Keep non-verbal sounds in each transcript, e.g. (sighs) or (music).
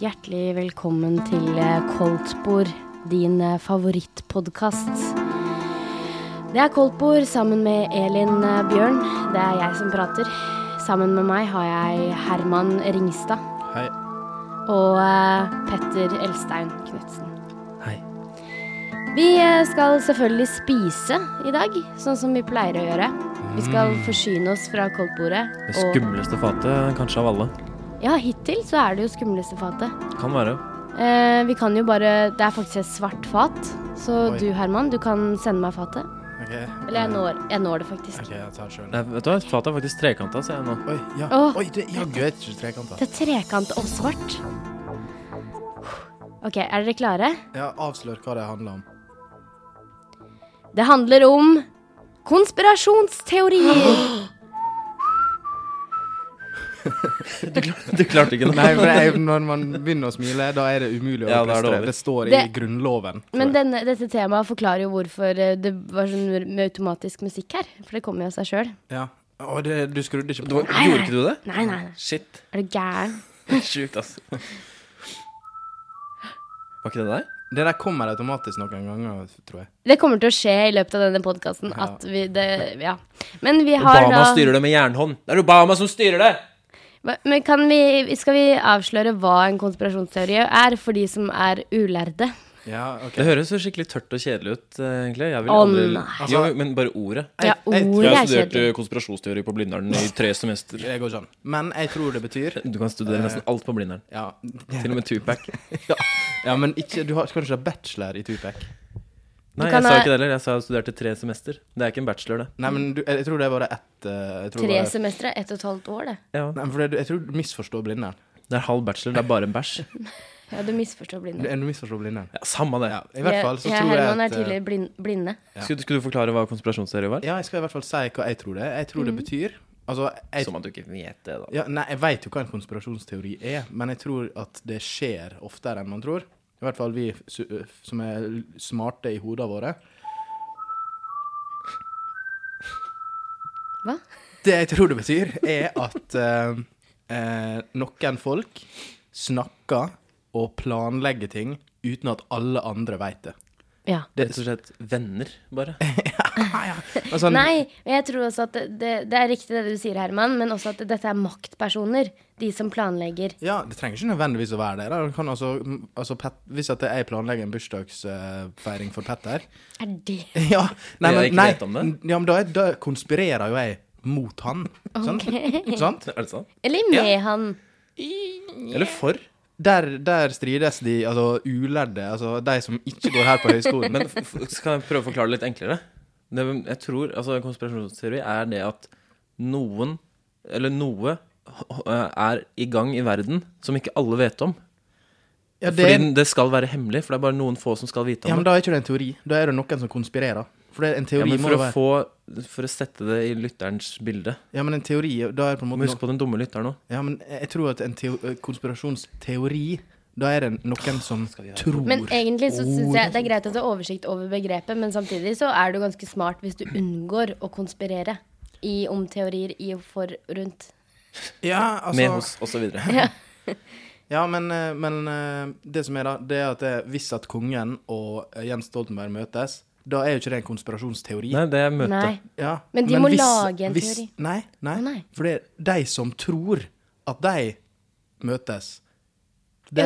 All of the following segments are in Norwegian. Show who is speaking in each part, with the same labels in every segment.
Speaker 1: Hjertelig velkommen til Koldtbord, din favorittpodkast. Det er Koldtbord sammen med Elin eh, Bjørn. Det er jeg som prater. Sammen med meg har jeg Herman Ringstad
Speaker 2: Hei.
Speaker 1: og eh, Petter Elstein Knutsen.
Speaker 2: Hei.
Speaker 1: Vi eh, skal selvfølgelig spise i dag, sånn som vi pleier å gjøre. Vi skal forsyne oss fra koldtbordet.
Speaker 2: Det
Speaker 1: Og
Speaker 2: skumleste fatet kanskje av alle.
Speaker 1: ja, hittil så er det jo skumleste fatet.
Speaker 2: Kan være.
Speaker 1: Eh, vi kan jo bare Det er faktisk et svart fat. Så
Speaker 3: Oi.
Speaker 1: du, Herman, du kan sende meg fatet.
Speaker 3: Ok.
Speaker 1: Eller jeg
Speaker 3: eh,
Speaker 1: når, jeg når det faktisk.
Speaker 3: Ok, jeg tar sjøl.
Speaker 2: Nei, vet du hva? Fatet er faktisk trekanta, ser jeg nå.
Speaker 3: Oi, ja.
Speaker 1: Åh.
Speaker 3: Oi, det er jaggu et trekant, da.
Speaker 1: Det er trekant og svart. OK, er dere klare?
Speaker 3: Ja, avslør hva det handler om.
Speaker 1: Det handler om
Speaker 3: (laughs)
Speaker 1: konspirasjonsteorier.
Speaker 2: Du, klarte ikke
Speaker 3: Nei, for jeg, når man begynner å smile, da er det umulig å
Speaker 2: Ja, da er det
Speaker 3: prestere.
Speaker 2: over.
Speaker 3: Det står i
Speaker 1: Det-
Speaker 3: Grunnloven. tror
Speaker 1: Men
Speaker 3: jeg.
Speaker 1: denne, dette temaet forklarer jo hvorfor eh, det var sånn med automatisk musikk her. For det kommer jo av seg sjøl.
Speaker 3: Ja. Å, det, du skrudde ikke
Speaker 2: Du,
Speaker 3: på?
Speaker 2: gjorde ikke du det?
Speaker 1: Nei, nei, nei.
Speaker 2: Shit.
Speaker 1: Er du gæren?
Speaker 2: Sjukt, ass. Var ikke det deg?
Speaker 3: Det der kommer automatisk noen ganger, tror jeg.
Speaker 1: Det kommer til å skje i løpet av denne podkasten
Speaker 3: Ja.
Speaker 1: at vi det, Ja. Men vi har
Speaker 2: Obama
Speaker 1: da
Speaker 2: styrer det med jernhånd. Det er Obama som styrer det!
Speaker 1: Hva- Men kan vi, skal vi avsløre hva en konspirasjonsteori er for de som er ulærde?
Speaker 3: Ja, ok.
Speaker 2: Det høres jo skikkelig tørt og kjedelig ut, eh, egentlig. Jeg vil
Speaker 1: Å,
Speaker 2: aldri...
Speaker 1: nei.
Speaker 2: Jo, men bare ordet.
Speaker 1: Ja,
Speaker 3: jeg tror
Speaker 1: ordet
Speaker 2: Jeg
Speaker 1: er
Speaker 2: har studert
Speaker 1: kjedelig.
Speaker 2: eh, konspirasjonsteori på Blindern i tre semester.
Speaker 3: Det går sånn. Men jeg tror det betyr
Speaker 2: Du kan studere nesten alt på Blindern.
Speaker 3: Ja,
Speaker 2: Til og med Tupac.
Speaker 3: ja, ja men ikke, du har, skal ikke ha bachelor i Tupac?
Speaker 2: Nei,
Speaker 1: kan
Speaker 2: jeg sa
Speaker 1: ha-
Speaker 2: ikke det heller. Jeg sa jeg studerte tre semester. Det er ikke en bachelor, det.
Speaker 3: Nei, men du, jeg tror det er bare ett eh, jeg tror
Speaker 1: Tre
Speaker 3: bare,
Speaker 1: semestre, ett og et halvt år, det.
Speaker 2: Ja.
Speaker 3: Nei, men for det, Jeg tror du misforstår Blindern.
Speaker 2: Det er halv bachelor, det er bare en bæsj.
Speaker 1: Ja, du misforstår
Speaker 3: Du,
Speaker 1: blinde.
Speaker 3: du misforstår Blindern.
Speaker 2: Ja, samme det.
Speaker 3: Ja, I hvert fall så
Speaker 1: jeg,
Speaker 3: tror jeg
Speaker 1: Herman
Speaker 3: at
Speaker 1: er
Speaker 3: eh,
Speaker 1: tidligere blind, blinde.
Speaker 3: Ja.
Speaker 2: Skulle, skulle du forklare hva konspirasjonsteori var?
Speaker 3: Ja, jeg skal i hvert fall si hva jeg tror det er. Jeg tror det
Speaker 1: Mm.
Speaker 3: betyr Altså, jeg,
Speaker 2: Som at du ikke vet det, da.
Speaker 3: ja, nei, jeg vet jo hva en konspirasjonsteori er, men jeg tror at det skjer oftere enn man tror. I hvert fall vi su- eh, som er l- smarte i hodene våre.
Speaker 1: Hva?
Speaker 3: Det jeg tror det betyr, er at eh, eh, noen folk snakker og planlegger ting uten at alle andre vet det. (laughs)
Speaker 1: Ja.
Speaker 2: Rett og slett venner, bare.
Speaker 3: Og sånn-
Speaker 1: Nei, og jeg tror også at det, det, det er riktig det du sier, Herman, men også at dette er maktpersoner. De som planlegger.
Speaker 3: Ja, det trenger ikke nødvendigvis å være det. Da. Det Kan altså, altså Pet, hvis at jeg planlegger en bursdagsfeiring for Petter
Speaker 2: (laughs)
Speaker 1: Er det
Speaker 3: Ja, nei,
Speaker 2: Jeg
Speaker 3: men,
Speaker 2: ikke
Speaker 3: nei,
Speaker 2: vet om det.
Speaker 3: ja, men da, er- da konspirerer jo jeg mot han. Sant? sant?
Speaker 2: (laughs) Er det sant?
Speaker 1: Eller med han.
Speaker 2: Eller for?
Speaker 3: Der, der strides de altså, ulærde, altså de som ikke går her på høyskolen.
Speaker 2: Men f f- kan jeg prøve å forklare det litt enklere? Det, jeg tror, altså Konspirasjonsteori er det at noen, eller noe, h- h- er i gang i verden som ikke alle vet om.
Speaker 3: ja, det,
Speaker 2: Fordi det skal være hemmelig, for det er bare noen få som skal vite
Speaker 3: ja,
Speaker 2: om
Speaker 3: men
Speaker 2: det.
Speaker 3: da er ikke det en teori. Da er det noen som konspirerer. For det, er en
Speaker 2: Ja,
Speaker 3: teori
Speaker 2: men
Speaker 3: må
Speaker 2: for,
Speaker 3: jo
Speaker 2: å
Speaker 3: være
Speaker 2: få, for å sette det i lytterens bilde.
Speaker 3: Ja, men en teori Da er det på en
Speaker 2: Du
Speaker 3: måte
Speaker 2: må huske på den dumme lytteren òg.
Speaker 3: noe- Ja, men jeg tror at en teo konspirasjonsteori Da er det noen som tror
Speaker 1: Men egentlig så syns jeg det er greit at du har oversikt over begrepet, men samtidig så er du ganske smart hvis du unngår å konspirere i om teorier i og for rundt.
Speaker 3: Ja, altså
Speaker 2: Med hos, og så videre.
Speaker 3: Ja, men, eh, men eh, det som er da, det er at det, hvis at kongen og eh, Jens Stoltenberg møtes, da er jo ikke det en konspirasjonsteori.
Speaker 2: Nei, det er møte.
Speaker 1: Nei.
Speaker 3: Ja,
Speaker 1: Men de må lage en teori.
Speaker 3: Nei, nei,
Speaker 1: Å, nei.
Speaker 3: For det er de som tror at de møtes, de,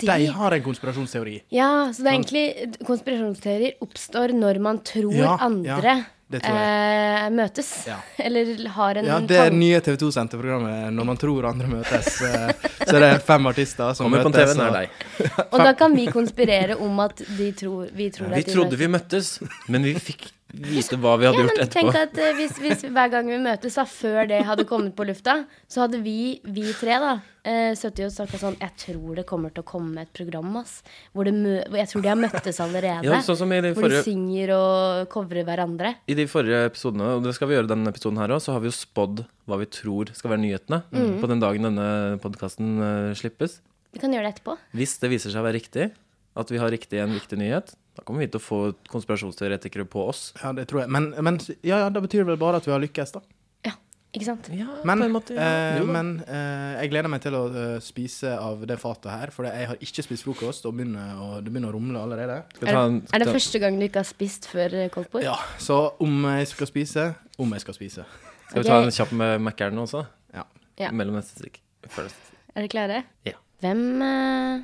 Speaker 1: de-
Speaker 3: de har en konspirasjonsteori.
Speaker 1: Ja, så det er egentlig konspirasjonsteorier oppstår når man tror
Speaker 3: Ja,
Speaker 1: andre
Speaker 3: ja, det tror
Speaker 1: eh, møtes.
Speaker 3: Ja.
Speaker 1: (laughs) Eller har en
Speaker 3: Ja, det er
Speaker 1: tanke.
Speaker 3: nye TV 2-sendte programmet Når man tror andre møtes. eh, Så det er fem artister som
Speaker 2: Kommer på en
Speaker 3: møtes.
Speaker 2: TV nær
Speaker 3: og-
Speaker 2: deg.
Speaker 1: Og da kan vi konspirere om at de tror, vi tror at
Speaker 2: Vi
Speaker 1: de
Speaker 2: trodde
Speaker 1: møtes.
Speaker 2: vi møttes, men vi fikk vite hva vi hadde
Speaker 1: Ja,
Speaker 2: gjort
Speaker 1: men tenk
Speaker 2: etterpå.
Speaker 1: at eh, hvis, hvis hver gang vi møtes, da, før det hadde kommet på lufta, så hadde vi, vi tre, da, eh, sittet og snakka sånn Jeg tror det kommer til å komme et program, ass. Hvor det mø hvor jeg tror de har møttes allerede.
Speaker 2: Ja, sånn som i de
Speaker 1: hvor de
Speaker 2: forrige-
Speaker 1: synger og covrer hverandre.
Speaker 2: I de forrige episodene, og det skal vi gjøre denne episoden her òg, så har vi jo spådd hva vi tror skal være nyhetene
Speaker 1: Mm.
Speaker 2: på den dagen denne podkasten slippes.
Speaker 1: Vi kan gjøre det etterpå.
Speaker 2: Hvis det viser seg å være riktig, at vi har riktig en viktig nyhet, da kommer vi til å få konspirasjonsteoretikere på oss.
Speaker 3: Ja, det tror jeg. Men, men ja, ja, da betyr det vel bare at vi har lykkes, da.
Speaker 1: Ja, Ikke sant?
Speaker 2: Ja,
Speaker 3: Men,
Speaker 2: på en måte. Ja.
Speaker 3: eh,
Speaker 2: Jo da.
Speaker 3: men eh, jeg gleder meg til å eh, spise av det fatet her, for jeg har ikke spist frokost, og, begynner, å- det begynner å rumle allerede.
Speaker 2: Skal vi
Speaker 1: Er,
Speaker 2: ta en-
Speaker 1: det- er det
Speaker 2: ta-
Speaker 1: første gang du ikke har spist før eh, koldtbord?
Speaker 3: Ja, Så om jeg skal spise Om jeg skal spise.
Speaker 2: Skal vi
Speaker 1: Ok.
Speaker 2: ta en kjapp med Mac-eren også?
Speaker 3: Ja.
Speaker 1: Ja.
Speaker 2: Mellom neste stikk. Før neste stikk.
Speaker 1: Er dere klare?
Speaker 2: Ja.
Speaker 1: Hvem eh,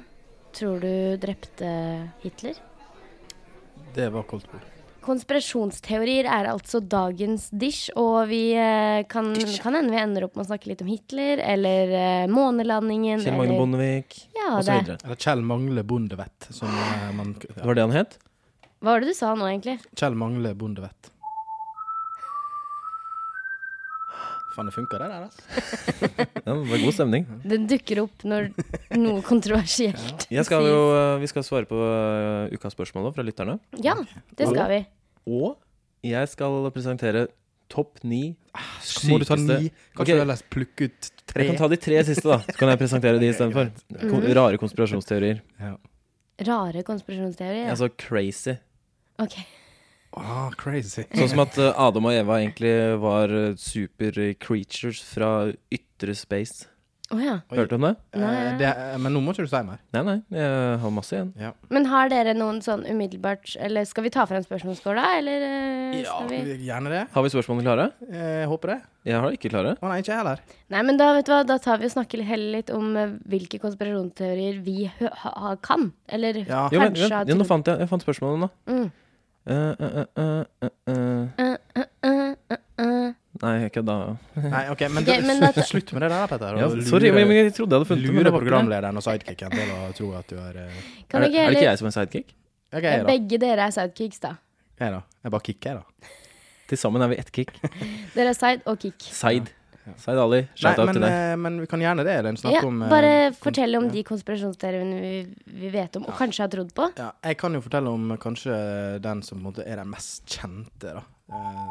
Speaker 1: tror du drepte Hitler?
Speaker 3: Det var koldtbord.
Speaker 1: Konspirasjonsteorier er altså dagens dish, og vi eh, kan, kan hende vi ender opp med å snakke litt om Hitler, eller eh, månelandingen,
Speaker 2: Kjell Magne
Speaker 1: eller
Speaker 2: Bondevik
Speaker 1: ja,
Speaker 2: og så
Speaker 1: det.
Speaker 2: videre
Speaker 3: Eller Kjell Mangle Bondevett, som eh, man
Speaker 2: Det
Speaker 3: ja.
Speaker 2: var det han het?
Speaker 1: Hva var det du sa nå, egentlig?
Speaker 3: Kjell Mangle Bondevett. Faen, det funka, det der, altså.
Speaker 2: Ja, det var god stemning.
Speaker 1: Den dukker opp
Speaker 2: (laughs)
Speaker 1: når noe kontroversielt
Speaker 2: Jeg skal jo, eh, vi skal svare på eh, ukas spørsmål også fra lytterne.
Speaker 1: sies. Ja, det skal vi.
Speaker 2: Og jeg skal presentere topp ni
Speaker 3: Så må du ta
Speaker 2: Ah, sykeste
Speaker 3: ni. Kanskje
Speaker 2: Ok.
Speaker 3: du ellers plukke ut tre?
Speaker 2: Jeg kan ta de tre siste, da. Så kan jeg presentere de
Speaker 1: (laughs)
Speaker 2: istedenfor. Kon
Speaker 1: Mm-hmm.
Speaker 2: rare konspirasjonsteorier.
Speaker 3: Ja.
Speaker 1: Rare konspirasjonsteorier.
Speaker 2: Altså crazy.
Speaker 1: Ok.
Speaker 3: Ah, crazy.
Speaker 2: Sånn som at eh, Adam og Eva egentlig var eh, super creatures fra ytre space.
Speaker 1: Å ja.
Speaker 3: Oi.
Speaker 2: Hørte du om det?
Speaker 3: Eh, det, er- men nå må ikke du si mer.
Speaker 2: Nei, nei. Jeg har masse igjen.
Speaker 3: Ja.
Speaker 1: Men har dere noen sånn umiddelbart Eller skal vi ta frem spørsmålsskåla, eller eh,
Speaker 3: ja,
Speaker 1: skal vi
Speaker 3: gjerne det. Eh,
Speaker 2: Har vi spørsmålene klare?
Speaker 3: Jeg håper det.
Speaker 2: Jeg har det ikke klare.
Speaker 3: Å nei, ikke jeg heller.
Speaker 1: Nei, men da, vet du hva, da tar vi og snakker heller litt om eh, hvilke konspirasjonsteorier vi hø ha kan. Eller
Speaker 3: Ja.
Speaker 2: Jo,
Speaker 1: Ah,
Speaker 2: men,
Speaker 1: kanskje
Speaker 2: vent,
Speaker 1: har
Speaker 2: ja, nå
Speaker 1: trodd.
Speaker 2: fant jeg, jeg fant spørsmålene, da.
Speaker 1: Mm.
Speaker 2: Eh, eh, eh, eh, eh, eh.
Speaker 1: eh,
Speaker 2: Nei, ikke da.
Speaker 3: (laughs) Nei, ok, men,
Speaker 1: Ok, men da-
Speaker 3: slutt med det der, Petter.
Speaker 2: Ja,
Speaker 3: og
Speaker 2: sorry,
Speaker 3: lure-
Speaker 2: men jeg trodde jeg hadde funnet det, men
Speaker 3: Lure
Speaker 2: det var ikke det.
Speaker 3: programlederen og sidekicken til å tro at du er eh,
Speaker 1: Kan vi
Speaker 2: Er det, er det ikke
Speaker 1: heller
Speaker 2: jeg som er sidekick?
Speaker 3: OK, jeg, da.
Speaker 1: Begge dere er sidekicks, da.
Speaker 3: Jeg, da. jeg bare kicker, jeg, da.
Speaker 2: Til sammen er vi ett (laughs) kick.
Speaker 1: Dere er side og kick.
Speaker 2: Side. Side Ali, shout
Speaker 3: Nei,
Speaker 2: out
Speaker 3: men,
Speaker 2: til deg.
Speaker 3: eh, men vi kan gjerne det, Elin. Snakke
Speaker 1: Ja,
Speaker 3: om eh,
Speaker 1: bare
Speaker 3: kon-
Speaker 1: fortell om de konspirasjonsteoriene vi, vi vet om, og kanskje har trodd på.
Speaker 3: ja, Jeg kan jo fortelle om eh, kanskje den som på en måte er den mest kjente, da. Eh,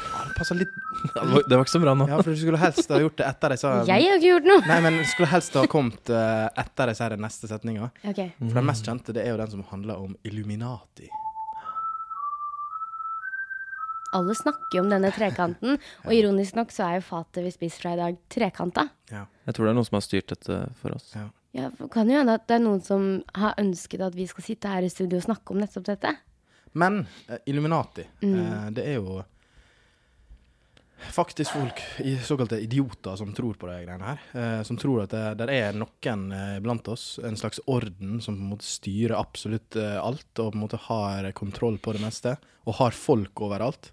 Speaker 3: ja, det passer litt
Speaker 2: Ja, (laughs) Det var, det var ikke så bra nå.
Speaker 3: Ja, for du skulle helst ha gjort det etter jeg sa
Speaker 1: Jeg har ikke gjort noe!
Speaker 3: Nei, men skulle helst ha kommet eh, etter jeg sa den neste setninga.
Speaker 1: Ok,
Speaker 3: For den mest kjente, det er jo den som handler om Illuminati.
Speaker 1: Alle snakker jo om denne trekanten, og ironisk nok så er jo fatet vi spiser fra i dag, trekanta.
Speaker 3: Ja.
Speaker 2: Jeg tror det er noen som har styrt dette for oss.
Speaker 1: Ja, for kan jo hende at det er noen som har ønsket at vi skal sitte her i studio og snakke om nettopp dette.
Speaker 3: Men eh, Illuminati,
Speaker 1: Mm.
Speaker 3: eh, det er jo faktisk folk, i såkalte idioter, som tror på de greiene her. eh, som tror at det der er noen eh, blant oss, en slags orden som på en måte styrer absolutt eh, alt, og på en måte har kontroll på det meste, og har folk overalt.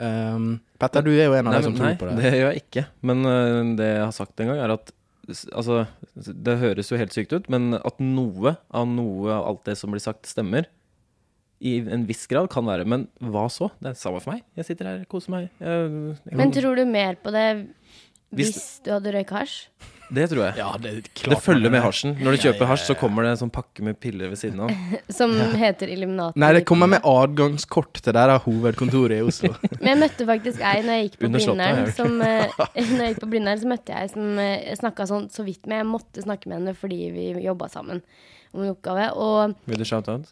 Speaker 3: Um, Petter, du er jo en av
Speaker 2: Nei,
Speaker 3: de som
Speaker 2: men-
Speaker 3: tror
Speaker 2: nei,
Speaker 3: på det.
Speaker 2: det gjør jeg ikke. Men øh, det jeg har sagt en gang, er at s- Altså, det høres jo helt sykt ut, men at noe av noe av alt det som blir sagt, stemmer. I en viss grad kan være, men hva så? Det er samme for meg. Jeg sitter her, koser meg. Jeg, jeg,
Speaker 1: Men tror du mer på det
Speaker 2: Hvis-
Speaker 1: hvis, du hadde røyka hasj?
Speaker 2: det tror jeg.
Speaker 3: Ja, det er klart. eh,
Speaker 2: det følger med hasjen. Når du kjøper hasj, så kommer det en sånn pakke med piller ved siden av.
Speaker 1: Som heter Illuminati.
Speaker 3: Nei, det kommer med adgangskort til der hovedkontoret i
Speaker 2: (laughs)
Speaker 3: Oslo.
Speaker 1: Men jeg møtte faktisk ei når jeg gikk på
Speaker 2: Under slottet,
Speaker 1: Blindern,
Speaker 2: jeg.
Speaker 1: som, eh, når jeg gikk på Blindern, så møtte jeg ei som eh, snakka sånn så vidt med. Jeg måtte snakke med henne fordi vi jobba sammen om en oppgave. Og
Speaker 2: Vil du shout
Speaker 3: (laughs)
Speaker 2: out?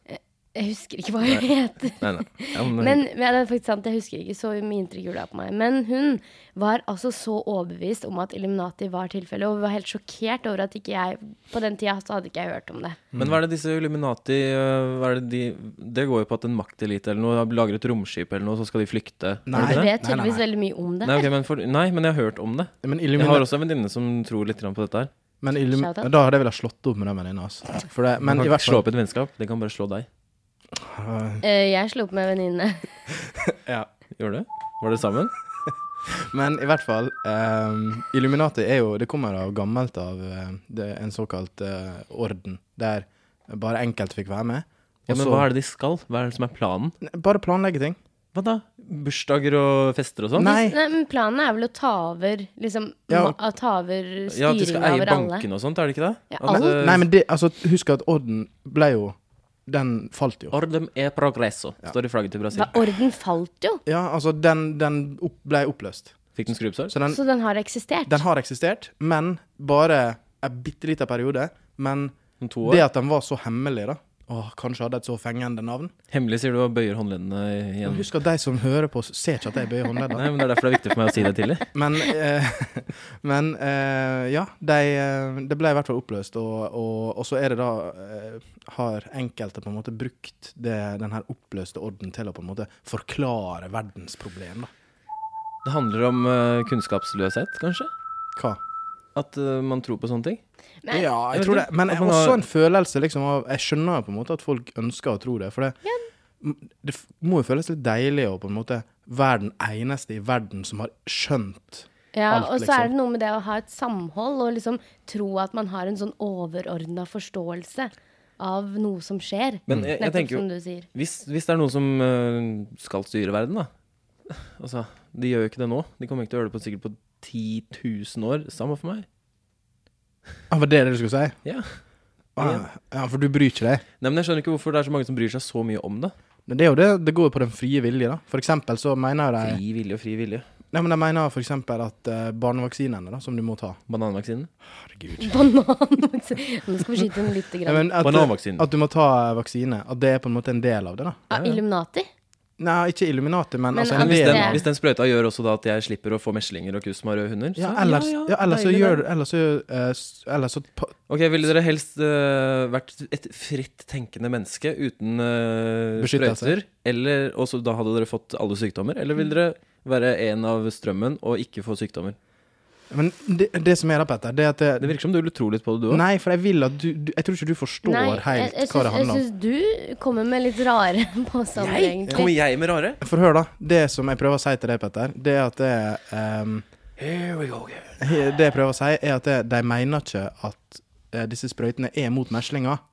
Speaker 1: jeg husker ikke hva hun het.
Speaker 2: Nei, nei. Ja,
Speaker 1: Men, men det er faktisk sant, jeg husker ikke så mye inntrykk gjorde det på meg. Men hun var altså så overbevist om at Illuminati var tilfellet, og hun var helt sjokkert over at ikke jeg På den tida så hadde ikke jeg hørt om det.
Speaker 2: Men hva er det disse Illuminati øh, hva er det, de, det går jo på at en maktelite eller noe har laget et romskip eller noe, så skal de flykte. Er det
Speaker 3: Nei.
Speaker 1: Jeg
Speaker 2: ikke det?
Speaker 1: vet
Speaker 3: nei, nei,
Speaker 1: tydeligvis
Speaker 3: nei.
Speaker 1: veldig mye om det.
Speaker 2: Nei, ok, men for, nei, men jeg har hørt om det.
Speaker 3: Men
Speaker 2: Jeg har
Speaker 3: Illuminati
Speaker 2: også en venninne som tror litt grann på dette her.
Speaker 3: Men Illum
Speaker 1: Shout out.
Speaker 3: da hadde jeg villet slått opp med den venninna. Altså. For det- Men i
Speaker 2: Men kan
Speaker 3: hvert
Speaker 2: ikke slå
Speaker 3: fall
Speaker 2: opp et vennskap, de kan bare slå deg.
Speaker 1: Eh, Jeg slo opp med
Speaker 2: (laughs)
Speaker 1: venninnene.
Speaker 3: ja.
Speaker 2: Gjorde det? Var det sammen?
Speaker 3: Men i hvert fall ehm, Illuminati er jo Det kommer av gammelt av eh, det, en såkalt eh, orden, der bare enkelte fikk være med.
Speaker 2: Ja, men hva er det de skal? Hva er det som er planen?
Speaker 3: Bare planlegge ting.
Speaker 2: Hva da? Bursdager og fester og sånn?
Speaker 3: Nei.
Speaker 1: Nei, men planen er vel å ta over liksom,
Speaker 3: Ja.
Speaker 1: ma- ta over
Speaker 2: Ja, at de
Speaker 1: styringa
Speaker 2: skal eie
Speaker 1: over alle.
Speaker 2: bankene og sånt, er det ikke det?
Speaker 1: Ja,
Speaker 2: At,
Speaker 1: alt.
Speaker 2: eh,
Speaker 3: Nei, men det, altså, husk at orden ble jo Den falt jo.
Speaker 2: Ordem e progresso, står i flagget til Brasil.
Speaker 1: Hva, orden falt jo,
Speaker 3: Ja, altså, den, den opp, ble oppløst.
Speaker 2: Fikk den skrubbsår?
Speaker 3: Så den,
Speaker 1: så den har eksistert.
Speaker 3: den har eksistert, men bare en bitte liten periode. Men
Speaker 2: Om to
Speaker 3: det at
Speaker 2: år?
Speaker 3: den var så hemmelig, da, åh, kanskje hadde et så fengende navn.
Speaker 2: Hemmelig sier du og bøyer håndleddene
Speaker 3: Men
Speaker 2: igjen.
Speaker 3: Husk at de som hører på, ser ikke at jeg bøyer håndledda.
Speaker 2: Nei, men Det er derfor det er viktig for meg å si det tidlig.
Speaker 3: Men, eh, (laughs) men eh, ja, de, eh, det ble i hvert fall oppløst, og, og, og så er det da eh, Har enkelte på en måte brukt det, den her oppløste orden til å på en måte forklare verdensproblem, da.
Speaker 2: Det handler om eh, kunnskapsløshet, kanskje?
Speaker 3: Hva?
Speaker 2: At eh, man tror på sånne ting?
Speaker 1: Nei,
Speaker 3: ja, jeg
Speaker 2: jeg
Speaker 3: tror det.
Speaker 2: vet ikke.
Speaker 3: Men
Speaker 2: At man
Speaker 3: også
Speaker 2: har-
Speaker 3: en følelse liksom av Jeg skjønner jo på en måte at folk ønsker å tro det, for det, m- det f- må jo føles litt deilig å på en måte være den eneste i verden som har skjønt
Speaker 1: Ja,
Speaker 3: alt,
Speaker 1: og så er
Speaker 3: liksom.
Speaker 1: det noe med det å ha et samhold og liksom tro at man har en sånn overordna forståelse av noe som skjer.
Speaker 2: Men jeg, jeg
Speaker 1: Nettopp
Speaker 2: tenker jo
Speaker 1: som du sier. (laughs)
Speaker 2: Hvis, hvis det er noen som øh, skal styre verden, da (sighs) Altså, de gjør jo ikke det nå. De kommer ikke til å gjøre det på sikkert på 10 000 år. Samme for meg.
Speaker 3: Ja, Var det det du skulle si?
Speaker 2: Ja.
Speaker 3: Ah, ja, for du bryr ikke deg?
Speaker 2: Nei, men jeg skjønner ikke hvorfor det er så mange som bryr seg så mye om det.
Speaker 3: Men det er jo det, det går jo på den frie vilje, da. For eksempel så mener jo de
Speaker 2: Fri vilje og fri vilje.
Speaker 3: Nei, men de mener for eksempel at eh, barnevaksinene, da, som du må ta
Speaker 2: Bananvaksinen.
Speaker 3: Herregud.
Speaker 1: Banan Nå skal vi skyte den lite
Speaker 3: Nei,
Speaker 1: grann.
Speaker 3: men at,
Speaker 2: Bananvaksinen.
Speaker 3: at du må ta eh, vaksine. At det er på en måte en del av det, da.
Speaker 1: Ah, Illuminati?
Speaker 3: Nei, ikke Illuminati, men,
Speaker 1: Men
Speaker 3: altså
Speaker 2: Men
Speaker 3: en
Speaker 1: at
Speaker 2: hvis
Speaker 3: del
Speaker 2: den,
Speaker 1: det-
Speaker 3: av det.
Speaker 2: hvis den sprøyta gjør også da at jeg slipper å få meslinger og kus som har røde hunder,
Speaker 3: Ja, ellers, ja, ellers så
Speaker 2: deilig
Speaker 3: gjør
Speaker 2: det.
Speaker 3: du Ellers så eh, s- Ellers så pa-
Speaker 2: Ok, Ville dere helst øh, vært et fritt tenkende menneske uten øh,
Speaker 3: Beskyttelse.
Speaker 2: sprøyter? Eller, og så da hadde dere fått alle sykdommer? Eller ville dere være en av strømmen og ikke få sykdommer?
Speaker 3: Men det, det som er da, Petter, det er at
Speaker 2: Det
Speaker 3: det,
Speaker 2: virker som du tror litt på det, du òg.
Speaker 3: Nei, for jeg vil at du, du Jeg tror ikke du forstår
Speaker 1: Nei, jeg,
Speaker 3: helt
Speaker 1: jeg,
Speaker 3: hva
Speaker 1: syns,
Speaker 3: det
Speaker 1: jeg
Speaker 3: handler om.
Speaker 1: syns du kommer med litt rare (laughs) påstander,
Speaker 2: Kommer
Speaker 1: Sånn egentlig.
Speaker 2: jeg med rare?
Speaker 3: For hør, da. Det som jeg prøver å si til deg, Petter, det er at det ehm, Det jeg prøver å si, er at det, de mener ikke at eh, disse sprøytene er mot meslinger.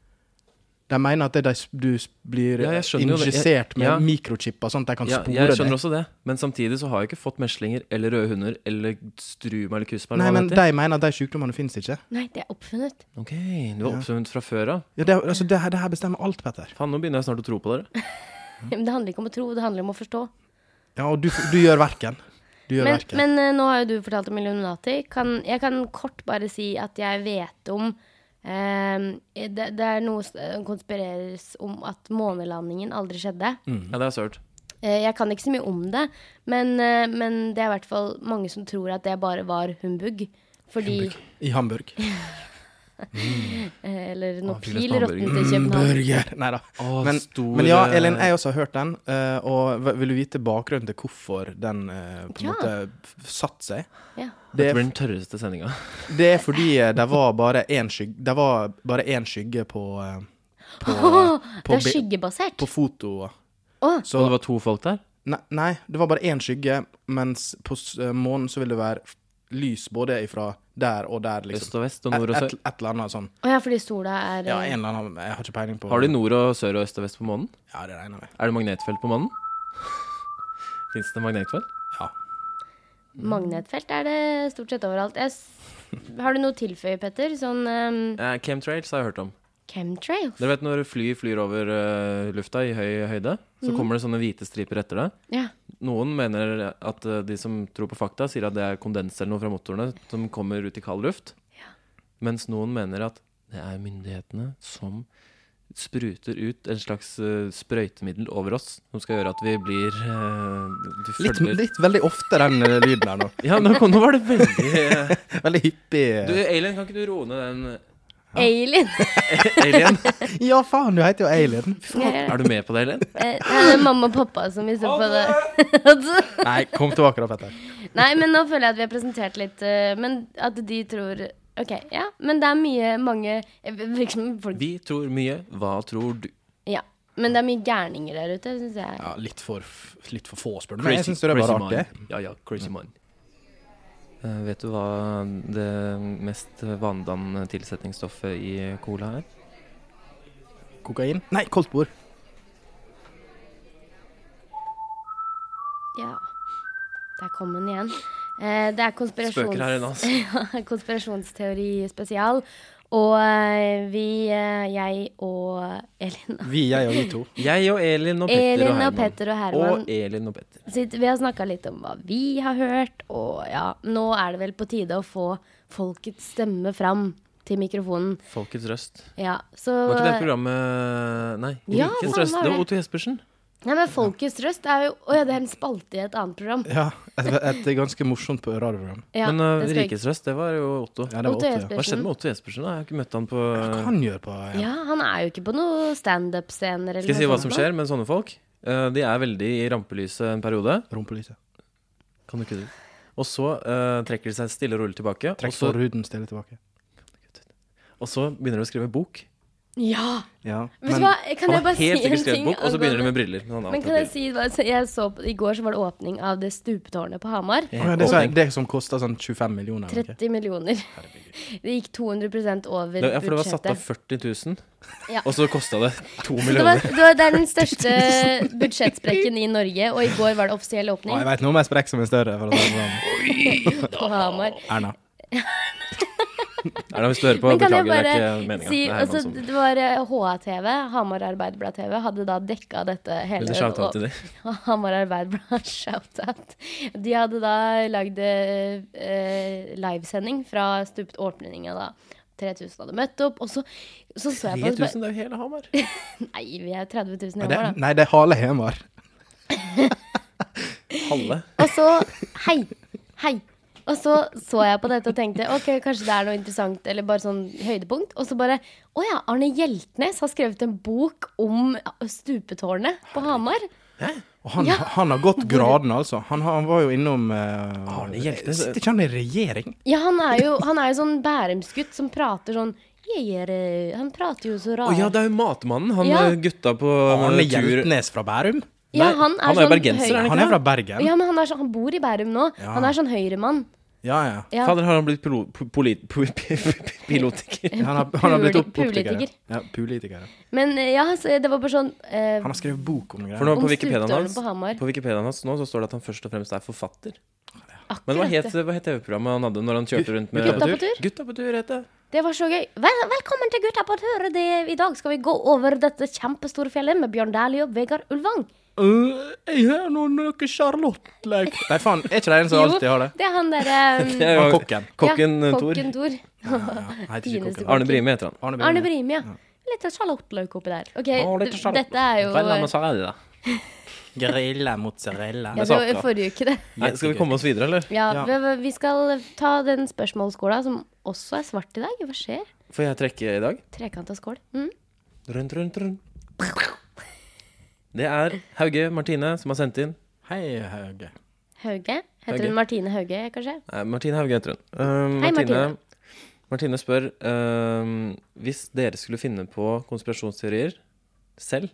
Speaker 3: De mener at det de, s- du s- blir
Speaker 2: Ja, jeg skjønner jo det. Jeg-
Speaker 3: injisert med
Speaker 2: ja.
Speaker 3: mikrochipper, sånn at de kan
Speaker 2: Ja,
Speaker 3: spore
Speaker 2: jeg skjønner
Speaker 3: deg.
Speaker 2: også det, men samtidig så har jeg ikke fått meslinger eller røde hunder eller struma eller kusma.
Speaker 3: Nei,
Speaker 2: eller hva
Speaker 3: men
Speaker 2: det heter.
Speaker 3: de mener at de sykdommene finnes ikke.
Speaker 1: Nei, det er oppfunnet.
Speaker 2: Ok, du var oppsvømt fra før av.
Speaker 3: Ja, det, altså, det, her- det her bestemmer alt, Petter.
Speaker 2: Faen, nå begynner jeg snart å tro på dere.
Speaker 1: Men det handler ikke om å tro, det handler om å forstå.
Speaker 3: Ja, og du, f- du gjør verken. Du gjør
Speaker 1: Men,
Speaker 3: verken.
Speaker 1: men eh, nå har jo du fortalt om Illuminati. Kan, jeg kan kort bare si at jeg vet om eh, det, det er noe som konspireres om at månelandingen aldri skjedde.
Speaker 3: Mm.
Speaker 2: Ja, det har jeg sørt.
Speaker 1: Eh, Jeg kan ikke så mye om det, men, eh, men det er i hvert fall mange som tror at det bare var humbug. Fordi
Speaker 3: I Hamburg.
Speaker 1: eh, Eller noe
Speaker 2: Ah, fyll
Speaker 1: pil
Speaker 2: oss med
Speaker 1: råtnet i København.
Speaker 3: (laughs) Burger. Nei da.
Speaker 2: Å,
Speaker 3: Men,
Speaker 2: stor-
Speaker 3: men ja, Elin, jeg også har hørt den. eh, Og v- vil du vite bakgrunnen til hvorfor den eh, på en
Speaker 1: Ja.
Speaker 3: måte f- satt seg?
Speaker 1: Ja.
Speaker 2: Det
Speaker 3: Det er
Speaker 2: blir den tørreste sendinga.
Speaker 3: Det er fordi eh, det var bare én skygge, det var bare én skygge på, eh,
Speaker 1: (laughs)
Speaker 3: på,
Speaker 1: Det
Speaker 3: på,
Speaker 1: er
Speaker 3: bi-
Speaker 1: skyggebasert.
Speaker 3: på fotoet.
Speaker 1: Å.
Speaker 2: Så det var to folk der?
Speaker 3: Nei, nei, det var bare én skygge, mens på s- eh, månen så vil det være f- lys både ifra der og der,
Speaker 2: Øst
Speaker 3: liksom.
Speaker 2: og vest og
Speaker 3: Et,
Speaker 2: nord og
Speaker 3: et,
Speaker 2: sør?
Speaker 3: et eller annet sånn.
Speaker 1: Å ja, fordi sola er
Speaker 3: Ja,
Speaker 1: eh,
Speaker 3: en eller annen, jeg har ikke peiling på
Speaker 2: Har de nord og sør og øst og vest på månen?
Speaker 3: Ja, det regner jeg med.
Speaker 2: Er det magnetfelt på (laughs) månen? Fins det magnetfelt?
Speaker 3: Ja.
Speaker 1: Magnetfelt er det stort sett overalt. Jeg s har du noe å tilføye, Petter? Sånn eh,
Speaker 2: Eh, chemtrails har jeg hørt om.
Speaker 1: chemtrails?
Speaker 2: Dere vet når fly flyr over eh, lufta i høy høyde, så kommer det sånne hvite striper etter det.
Speaker 1: Ja.
Speaker 2: Noen mener at eh, de som tror på fakta, sier at det er kondens eller noe fra motorene som kommer ut i kald luft. Mens noen mener at det er myndighetene som spruter ut en slags eh, sprøytemiddel over oss, som skal gjøre at vi blir eh, vi
Speaker 3: Litt,
Speaker 2: følger-
Speaker 3: litt veldig ofte den eh, lyden her nå.
Speaker 2: Ja, nå, kom- nå var det veldig eh,
Speaker 3: Veldig hyppig. eh,
Speaker 2: Du, Alien, kan ikke du roe ned den
Speaker 1: (laughs) Alien.
Speaker 2: Alien?
Speaker 3: (laughs) Ja, faen, du heter jo Alien.
Speaker 1: Jeg-
Speaker 2: Er du med på det, Alien?
Speaker 1: Eh, Nei, det er mamma og pappa som i så fall er-
Speaker 3: Nei, kom tilbake da, Petter.
Speaker 1: (laughs) Nei, men nå føler jeg at vi har presentert litt eh, Men at de tror Ok, ja, men det er mye, mange eh, virker som folk,
Speaker 2: Vi tror mye. Hva tror du?
Speaker 1: Ja, men det er mye gærninger der ute, synes jeg
Speaker 3: Ja, litt for, f- litt for få, spør du. Men jeg syns det er bare artig.
Speaker 2: mind. Ja, ja, crazy mind. Eh, vet du hva det mest vanedannende tilsetningsstoffet i cola er?
Speaker 3: Kokain? Nei, koldt bord.
Speaker 1: Ja, der kom den igjen eh, Det er konspirasjons...
Speaker 2: Spøker her inne,
Speaker 1: (laughs)
Speaker 2: altså.
Speaker 1: konspirasjonsteori spesial Og eh, vi, eh, jeg og Elin
Speaker 3: Vi, jeg og vi to.
Speaker 2: Jeg og Elin og Petter og
Speaker 1: Elin
Speaker 2: Herman.
Speaker 1: og Petter og Herman
Speaker 2: Og Elin og Petter.
Speaker 1: Sitt- Vi har snakka litt om hva vi har hørt, og ja, nå er det vel på tide å få folkets stemme fram. til mikrofonen.
Speaker 2: Folkets røst.
Speaker 1: Ja, så
Speaker 2: Var ikke det programmet Nei,
Speaker 1: Ja,
Speaker 2: Rikets
Speaker 1: faen,
Speaker 2: røst.
Speaker 1: var
Speaker 2: Det
Speaker 1: det.
Speaker 2: var Otto Jespersen.
Speaker 1: Nei, men Folkets røst er jo Å ja, det er en spalte i et annet program.
Speaker 3: Ja, et, et ganske morsomt radioprogram.
Speaker 1: Ja,
Speaker 2: Men uh,
Speaker 1: det skal jeg ikke-
Speaker 2: Rikets røst, det var jo Otto.
Speaker 3: Ja, det var
Speaker 1: Otto
Speaker 3: åtte, ja.
Speaker 1: Jespersen.
Speaker 2: Hva skjedde med Otto Jespersen? da? Jeg har ikke møtt han på
Speaker 3: Hva
Speaker 2: uh,
Speaker 3: kan han gjøre på eh, ja.
Speaker 1: Ja, han er jo ikke på noen standup-scener.
Speaker 2: Skal jeg si hva som skjer med sånne folk? Eh, de er veldig i rampelyset en periode.
Speaker 3: rumpelyset?
Speaker 2: Kan du ikke det? Og så eh, trekker de seg stille og rolig tilbake. Og
Speaker 3: Trekk
Speaker 2: så,
Speaker 3: forhuden stille tilbake.
Speaker 2: og så begynner de å skrive bok.
Speaker 1: Ja!
Speaker 3: Ja.
Speaker 1: Vet du hva, kan
Speaker 2: Han
Speaker 1: jeg
Speaker 2: har
Speaker 1: bare si en ting?
Speaker 2: helt sikkert skrevet bok, og så begynner de med briller. Sånn
Speaker 1: Men kan jeg si, hva- så jeg så, på- I går så var det åpning av det stupetårnet på Hamar.
Speaker 3: Å ja, det, sa jeg, det som koster sånn 25 millioner. eller ikke?
Speaker 1: 30 millioner. Det gikk 200 over
Speaker 2: Ja, for det var satt av
Speaker 1: budsjettet.
Speaker 2: 40 000,
Speaker 1: Ja.
Speaker 2: og så kosta det to
Speaker 1: (laughs) Så det, var,
Speaker 2: millioner.
Speaker 1: det, var, det er den største budsjettsprekken i Norge, og i går var det offisiell
Speaker 3: Å, jeg
Speaker 1: åpning
Speaker 3: vet noe om en sprekk som er større. For å si det sånn.
Speaker 1: på Hamar.
Speaker 3: Erna.
Speaker 2: Erna, hvis du hører på,
Speaker 1: Men kan jeg
Speaker 2: beklager, det er
Speaker 1: bare
Speaker 2: ikke meninga.
Speaker 1: si
Speaker 2: det er
Speaker 1: altså,
Speaker 2: Herman som
Speaker 1: Det var eh, HA-TV, Hamar Arbeiderblad TV, hadde da dekka dette hele
Speaker 2: Eller shout-out til de.
Speaker 1: (laughs) Hamar Arbeiderblad, (laughs) shout-out. De hadde da lagd eh, livesending fra stupt åpninga da. 3000 hadde møtt opp, og så så, så jeg på
Speaker 2: 3000, det er jo hele Hamar.
Speaker 1: Nei, vi er 30 000 i
Speaker 3: Nei, det,
Speaker 1: Hamar, da.
Speaker 3: nei, det er Hale Hemar.
Speaker 2: Halve.
Speaker 1: Og så hei, hei. Og så så jeg på dette og tenkte ok, kanskje det er noe interessant, eller bare sånn høydepunkt. Og så bare å ja, Arne Hjeltnes har skrevet en bok om stupetårnet på Hamar.
Speaker 3: Og han,
Speaker 1: Ja.
Speaker 3: han har gått gradene, altså. Han, har- han var jo innom eh,
Speaker 2: Arne Hjeltnes.
Speaker 3: Sitter ikke han i regjering?
Speaker 1: Ja, han er jo, han er jo sånn bærumsgutt som prater sånn jeg er, eh», Han prater jo så
Speaker 2: Å
Speaker 1: rart.
Speaker 2: ja, det er jo Matmannen, han
Speaker 1: Ja.
Speaker 2: eh, gutta på
Speaker 3: Arne
Speaker 2: eh, tur.
Speaker 3: Hjeltnes fra Bærum?
Speaker 1: Ja,
Speaker 2: Nei,
Speaker 1: han er
Speaker 2: han er jo
Speaker 1: sånn
Speaker 2: bergenser,
Speaker 1: høy-
Speaker 2: er han ikke
Speaker 3: Han er fra
Speaker 2: det?
Speaker 3: Bergen.
Speaker 1: Ja, men han, er sånn, han bor i Bærum nå.
Speaker 3: Ja.
Speaker 1: Han er sånn høyremann.
Speaker 3: Ja, ja.
Speaker 1: Ja.
Speaker 2: Fader, har han blitt pilo- po- polit- po- (laughs)
Speaker 1: (laughs)
Speaker 2: pilotiker?
Speaker 3: Han har, han har blitt opp,
Speaker 1: Puli-
Speaker 3: optiker.
Speaker 1: politiker.
Speaker 3: Ja, politiker.
Speaker 1: Men eh, ja, så det var bare sånn eh,
Speaker 3: Han har skrevet bok om
Speaker 2: For
Speaker 3: greier.
Speaker 2: nå
Speaker 1: Om
Speaker 2: på Wikipediaen
Speaker 1: stuptårnet
Speaker 2: hans,
Speaker 1: på Hamar.
Speaker 2: på Wikipediaen hans nå så står det at han først og fremst er forfatter.
Speaker 1: akkurat
Speaker 2: Men hva het,
Speaker 1: det.
Speaker 2: hva het TV-programmet han hadde når han kjørte rundt med
Speaker 1: Gutta på tur?
Speaker 2: Gutta på tur het det.
Speaker 1: Det var så gøy. Vel, velkommen til Gutta på tur. Det, I dag skal vi gå over dette kjempestore fjellet med Bjørn Dæhlie og Vegard Ulvang.
Speaker 3: Øh, jeg har nå noe Charlotte-lek Nei, faen, er ikke det en som
Speaker 1: Jo,
Speaker 3: alltid har det?
Speaker 1: Det er han derre
Speaker 2: Det er
Speaker 3: Han
Speaker 2: jo
Speaker 3: kokken.
Speaker 2: kokken
Speaker 1: ja,
Speaker 2: eh, Thor.
Speaker 1: kokken Tor.
Speaker 3: Ja, han heter ikke
Speaker 1: Fineste
Speaker 3: kokken.
Speaker 2: Arne Brime heter han.
Speaker 3: Arne Brime.
Speaker 1: Arne Brimi, ja. Litt av sjalottløk oppi der. Ok,
Speaker 2: Å, litt
Speaker 1: d-
Speaker 2: sjalott.
Speaker 1: Eh, dette er jo
Speaker 2: Vel, han er
Speaker 1: ja,
Speaker 2: Sarah, da.
Speaker 3: Grilla mozzarella.
Speaker 1: Det var i forrige uke, det.
Speaker 2: Nei, skal vi komme oss videre, eller?
Speaker 1: Ja,
Speaker 3: Ja.
Speaker 1: vi- Vi skal ta den spørsmålsskåla som også er svart i dag. Hva skjer?
Speaker 2: Får jeg trekke i dag?
Speaker 1: Trekanta skål. Mm.
Speaker 2: Drun, drun, drun. Det er Hauge Martine som har sendt inn.
Speaker 3: Hei, Hauge.
Speaker 1: Hauge. Heter
Speaker 2: Hauge.
Speaker 1: hun Martine Hauge, kanskje?
Speaker 2: Nei, Eh, Martine Hauge heter hun. Um,
Speaker 1: Hei, Martine.
Speaker 2: Martine. Martine spør um, hvis dere skulle finne på konspirasjonsteorier selv,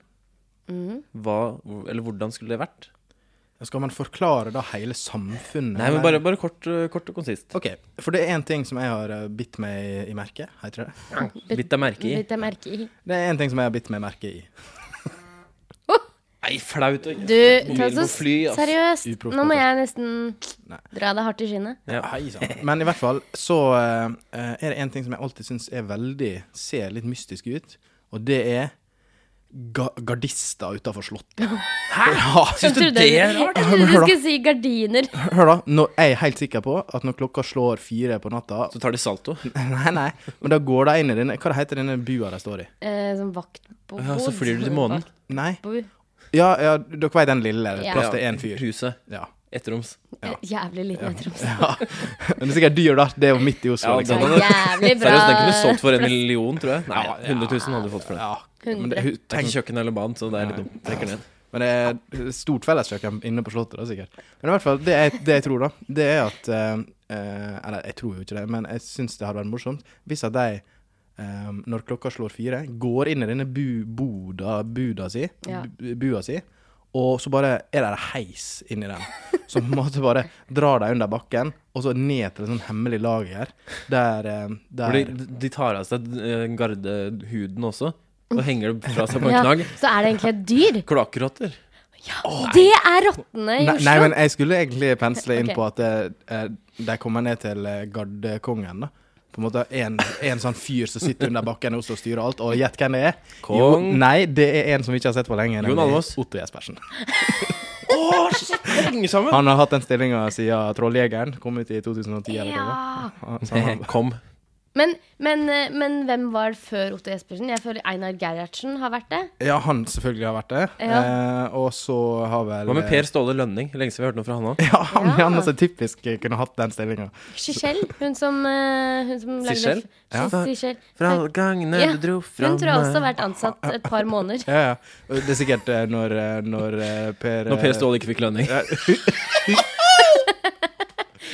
Speaker 2: hva, eller hvordan skulle det vært?
Speaker 3: Skal man forklare da hele samfunnet?
Speaker 2: Nei, men bare, bare kort, uh, kort og konsist.
Speaker 3: OK, for det er én ting som jeg har eh, bitt meg i, i merket. Heter det det?
Speaker 2: Bitt deg merke i.
Speaker 1: Litt jeg merke i.
Speaker 3: Det er én ting som jeg har bitt meg i merket i.
Speaker 2: Nei, flaut. å-
Speaker 1: Du, ta
Speaker 2: Mobilen
Speaker 1: så
Speaker 2: på fly, ass.
Speaker 1: seriøst.
Speaker 3: Uproft,
Speaker 1: Nå må
Speaker 3: altså.
Speaker 1: jeg nesten
Speaker 3: Nei.
Speaker 1: dra deg hardt i skinnet.
Speaker 2: Ja.
Speaker 3: Hei sann. Men i hvert fall så eh, eh, er det én ting som jeg alltid syns er veldig Ser litt mystisk ut, og det er ga gardister utafor Slottet. Hæ?! (laughs) Ja,
Speaker 2: Syns du
Speaker 1: Jeg trodde-
Speaker 2: det er rart?
Speaker 1: Jeg (laughs) trodde du
Speaker 3: Hør da.
Speaker 1: skulle si gardiner.
Speaker 3: hør da. Når jeg er helt sikker på at når klokka slår fire på natta
Speaker 2: Så tar de salto.
Speaker 3: (laughs) Nei, nei. Men da går de inn i denne Hva heter denne bua de står i?
Speaker 1: Eh, sånn vaktbod.
Speaker 2: Ja, så flyr du til månen.
Speaker 3: Nei.
Speaker 1: Vaktbod.
Speaker 3: Ja, ja dere vet den lille
Speaker 1: Ja.
Speaker 3: plass til én fyr.
Speaker 2: Huset.
Speaker 3: Ja. (laughs)
Speaker 2: Ettroms.
Speaker 1: Eh, Jævlig liten ettroms.
Speaker 3: ja. Men det er sikkert dyr, da. Det er jo midt i Oslo,
Speaker 2: Ja,
Speaker 3: liksom.
Speaker 2: den-
Speaker 1: Jævlig bra.
Speaker 2: Seriøst, den kunne du solgt for en million, tror jeg. Nei, 100 000 hadde du fått for den.
Speaker 3: Ja. Men det,
Speaker 2: Det er ikke kjøkken eller bad, så det er litt dumt. Trekker ned.
Speaker 3: Men det er stort felleskjøkken inne på Slottet, da, sikkert. Men i hvert fall, det jeg, det jeg tror, da, det er at eh, eh, Eller jeg tror jo ikke det, men jeg syns det hadde vært morsomt hvis at de, eh, når klokka slår fire, går inn i denne bu, boda, buda si,
Speaker 1: Ja.
Speaker 3: bu- bua si, og så bare er det en heis inni den. Som på en måte bare drar deg under bakken, og så ned til et sånt hemmelig lager der, eh,
Speaker 2: For
Speaker 3: der
Speaker 2: de, de tar av seg eh, gardehuden også, og henger det fra seg på en
Speaker 1: Ja,
Speaker 2: knagg.
Speaker 1: så er det egentlig et dyr.
Speaker 2: Kloakkrotter.
Speaker 1: Det er rottene i
Speaker 3: Nei,
Speaker 1: Oslo.
Speaker 3: nei, men jeg skulle egentlig pensle inn
Speaker 1: Ok.
Speaker 3: på at eh, de kommer ned til eh, gardekongen, da. På en måte en, en sånn fyr som sitter under bakken i Oslo og styrer alt, og gjett hvem det er?
Speaker 2: Kong.
Speaker 3: nei, det er en som vi ikke har sett på lenge. nemlig
Speaker 2: Almaas.
Speaker 3: Otto Jespersen.
Speaker 2: Henger sammen.
Speaker 3: Han har hatt den stillinga siden Trolljegeren kom ut i 2010 eller hva det var.
Speaker 1: ja.
Speaker 3: Han- så han-
Speaker 2: Kom.
Speaker 1: Men, men, eh, men hvem var det før Otto Jespersen? Jeg føler Einar Gerhardsen har vært det.
Speaker 3: Ja, han selvfølgelig har vært det. Eh, og så har vel
Speaker 2: Hva med Per Ståle Lønning? Lenge siden vi har hørt noe fra han
Speaker 3: (laughs)
Speaker 2: òg.
Speaker 3: Ja, han,
Speaker 1: Ja.
Speaker 3: han altså typisk eh, kunne hatt den stillinga.
Speaker 1: Chichelle, hun som, eh, hun som lagde
Speaker 2: Sichel?
Speaker 1: Ja.
Speaker 2: Ja. Fra alle gangene
Speaker 1: Ja,
Speaker 2: du dro fra
Speaker 1: Hun tror jeg også har vært ansatt et par måneder.
Speaker 3: Ja, ja. Og Det er sikkert eh, når, eh, når eh, Per
Speaker 2: Når Per Ståle ikke fikk lønning.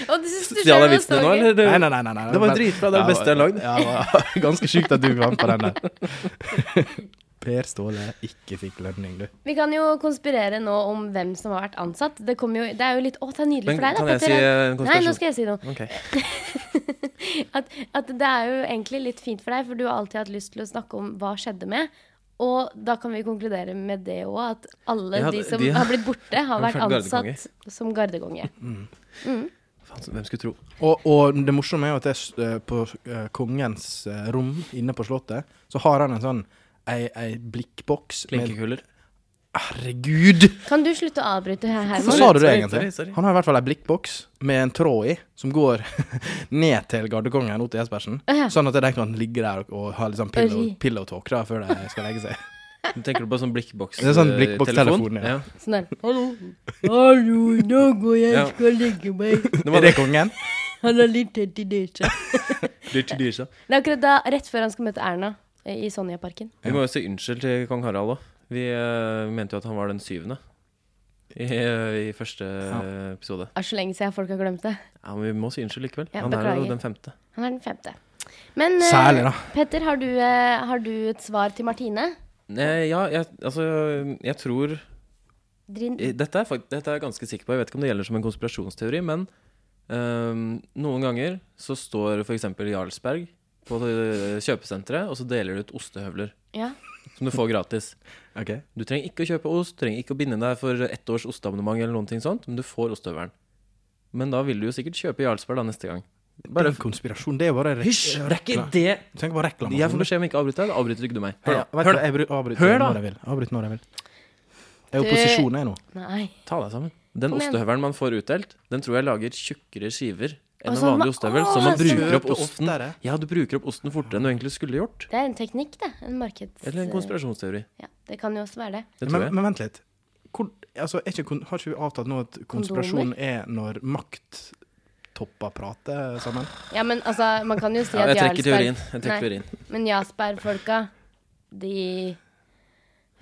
Speaker 1: Og du synes du
Speaker 2: Stjal
Speaker 1: selv
Speaker 2: jeg
Speaker 1: var
Speaker 2: vitsen din
Speaker 1: så
Speaker 2: nå,
Speaker 1: gøy.
Speaker 2: eller?
Speaker 3: Nei, nei, nei, nei, nei.
Speaker 2: Det var dritbra, det er det beste jeg har lagd.
Speaker 3: Ja, det var (laughs) ganske sjukt at du vant på den der. (laughs) Per Ståle ikke fikk lønning, du.
Speaker 1: Vi kan jo konspirere nå om hvem som har vært ansatt. Det, kommer jo, det er jo litt Å, det er nydelig
Speaker 2: Men
Speaker 1: for deg, da,
Speaker 2: kan jeg
Speaker 1: Petter.
Speaker 2: si eh, en
Speaker 1: Nei, nå
Speaker 2: konspirasjon?
Speaker 1: skal jeg si noe.
Speaker 2: Ok.
Speaker 1: At, at det er jo egentlig litt fint for deg, for du har alltid hatt lyst til å snakke om hva skjedde med. Og da kan vi konkludere med det òg, at alle
Speaker 2: Ja,
Speaker 1: de
Speaker 2: de-
Speaker 1: som
Speaker 2: de-
Speaker 1: har blitt borte, har
Speaker 2: Har
Speaker 1: vært
Speaker 2: (laughs) vært
Speaker 1: ansatt
Speaker 2: gardekonge.
Speaker 1: som gardekonge.
Speaker 2: Faen, hvem skulle tro?
Speaker 3: Og, og det morsomme er jo at det, er s- eh, på eh, kongens eh, rom inne på slottet, så har han en sånn ei, ei blikkboks med
Speaker 2: Klinkekuler.
Speaker 3: Herregud!
Speaker 1: Kan du slutte å avbryte her,
Speaker 3: Hva
Speaker 1: Herman?
Speaker 2: Sorry,
Speaker 3: sa du det
Speaker 2: sorry,
Speaker 3: egentlig?
Speaker 2: sorry, sorry.
Speaker 3: Han har i hvert fall ei blikkboks med en tråd i, som går (laughs) ned til gardekongen Otto Jespersen.
Speaker 1: Å ja.
Speaker 3: Sånn at de kan ligge der og, og ha litt sånn pillow,
Speaker 1: Ri.
Speaker 3: pillow talk da, før de skal legge seg.
Speaker 2: Du tenker på sånn blikkboks
Speaker 3: Det er sånn
Speaker 2: eh,
Speaker 3: blikkbokstelefon,
Speaker 2: telefon?
Speaker 3: ja.
Speaker 1: Sånn der. Hallo. Hallo, nå går jeg
Speaker 2: Ja.
Speaker 1: skal legge meg.
Speaker 2: Det
Speaker 3: Er
Speaker 2: var
Speaker 3: det
Speaker 2: det.
Speaker 3: kongen?
Speaker 1: Han har litt tett i døra. Det er akkurat da, rett før han skal møte Erna eh, i Sonja-parken.
Speaker 2: Vi må jo si unnskyld til kong Harald òg. Vi eh, mente jo at han var den syvende i, i første eh, episode.
Speaker 1: Det er så lenge siden folk har glemt det.
Speaker 2: Ja, men vi må si unnskyld likevel.
Speaker 1: Ja,
Speaker 2: han er
Speaker 1: beklager.
Speaker 2: jo den femte.
Speaker 1: Han er den femte. Men eh,
Speaker 3: Særlig, da.
Speaker 1: Petter, har du, eh, har du et svar til Martine?
Speaker 2: Nei, ja, jeg, altså Jeg tror
Speaker 1: Drin
Speaker 2: Dette er, fakt- dette er jeg ganske sikker på. Jeg vet ikke om det gjelder som en konspirasjonsteori, men øhm, noen ganger så står f.eks. Jarlsberg på øh, kjøpesenteret, og så deler de ut ostehøvler
Speaker 1: ja.
Speaker 2: som du får gratis.
Speaker 3: Ok.
Speaker 2: Du trenger ikke å kjøpe ost, trenger ikke å binde deg for ett års osteabonnement eller noen ting sånt, men du får ostehøvelen. Men da vil du jo sikkert kjøpe Jarlsberg da neste gang.
Speaker 3: Bare
Speaker 2: Bare
Speaker 3: en konspirasjon. Det er jo bare rek
Speaker 2: Hysj! Det er ikke
Speaker 3: reklame.
Speaker 2: det!
Speaker 3: Tenk på reklame.
Speaker 2: Jeg får beskjed om ikke å avbryte deg, da avbryter ikke du meg.
Speaker 3: Hør,
Speaker 2: Hør,
Speaker 3: da.
Speaker 2: da. Hør, da.
Speaker 3: Jeg bry- avbryter
Speaker 2: Hør da.
Speaker 3: når jeg vil. Avbryt når jeg vil. Jeg er
Speaker 1: Du-
Speaker 3: opposisjon, jeg nå.
Speaker 1: Nei.
Speaker 2: Ta deg sammen. Den
Speaker 1: Kom igjen.
Speaker 2: ostehøvelen man får utdelt, den tror jeg lager tjukkere skiver enn
Speaker 1: Og
Speaker 2: en
Speaker 1: sånn
Speaker 2: vanlig
Speaker 1: med-
Speaker 2: ostehøvel.
Speaker 1: Åh,
Speaker 2: Så man
Speaker 1: sånn.
Speaker 2: bruker opp
Speaker 3: Kjøper
Speaker 2: osten
Speaker 3: oftere.
Speaker 2: Ja, du bruker opp osten fortere enn du egentlig skulle gjort.
Speaker 1: Det er en teknikk, det. En markeds...
Speaker 2: Eller en konspirasjonsteori.
Speaker 1: Ja, det kan jo også være det.
Speaker 2: Det
Speaker 3: Men,
Speaker 2: tror jeg.
Speaker 3: men vent litt. Hvor, altså, er ikke, kon- har ikke vi avtalt nå at konspirasjon er når makttopper prater sammen?
Speaker 1: Ja, men altså, man kan jo si
Speaker 2: Ja,
Speaker 1: at
Speaker 2: jeg trekker teorien. Jeg
Speaker 1: Nei,
Speaker 2: trekker teorien.
Speaker 1: Men Jarlsberg-folka, de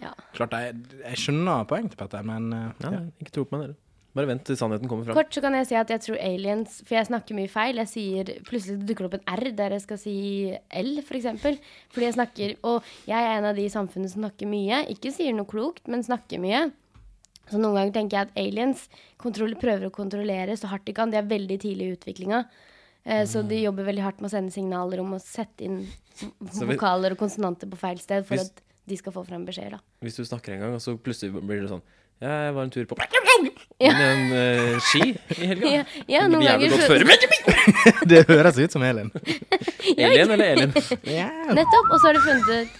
Speaker 1: Ja.
Speaker 3: Klart, jeg, jeg skjønner poeng til Petter, men eh,
Speaker 2: Ja,
Speaker 3: ja.
Speaker 2: nei, ikke tro på meg, dere. Bare vent til sannheten kommer fram.
Speaker 1: Kort så kan jeg si at jeg tror aliens For jeg snakker mye feil. Jeg sier Plutselig dukker det opp en R der jeg skal si L, for eksempel Fordi jeg snakker Og jeg er en av de i samfunnet som snakker mye. Ikke sier noe klokt, men snakker mye. Så noen ganger tenker jeg at aliens kontroll, prøver å kontrollere så hardt de kan. De er veldig tidlig i utviklinga. Eh, Så de jobber veldig hardt med å sende signaler om å sette inn
Speaker 2: Mm. Så vi-
Speaker 1: vokaler og konsonanter på feil sted for
Speaker 2: Hvis-
Speaker 1: at de skal få fram beskjeder. da.
Speaker 2: Hvis du snakker en gang, og så plutselig blir det sånn Jeg var en tur på (laughs) med en eh, ski i helga.
Speaker 1: Ja, ja,
Speaker 2: Det
Speaker 1: noen
Speaker 2: blir
Speaker 1: ganger
Speaker 2: jævlig godt
Speaker 1: så (laughs)
Speaker 2: føre.
Speaker 3: (laughs) Det høres ut som Elin.
Speaker 2: Alien eller Elin?
Speaker 3: (laughs) Ja.
Speaker 1: Nettopp. Og så har de funnet ut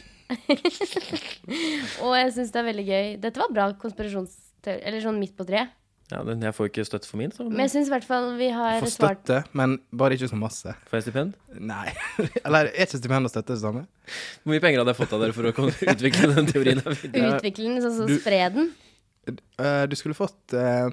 Speaker 1: (laughs) Og jeg syns det er veldig gøy. Dette var bra konspirasjonsteori. Eller sånn midt på treet.
Speaker 2: Ja, den, jeg får ikke støtte for min, så
Speaker 1: Men jeg syns i hvert fall vi har
Speaker 3: Få
Speaker 1: svart
Speaker 3: støtte, men bare ikke så masse.
Speaker 2: får jeg stipend.
Speaker 3: Nei. (laughs) Eller er ikke stipend og støtte det samme?
Speaker 2: Hvor mye penger hadde jeg fått av dere for å kon- (laughs) utvikle den teorien? her videre?
Speaker 1: utvikle den, sånn som
Speaker 3: Du-
Speaker 1: spre den.
Speaker 3: Eh, Du skulle fått eh,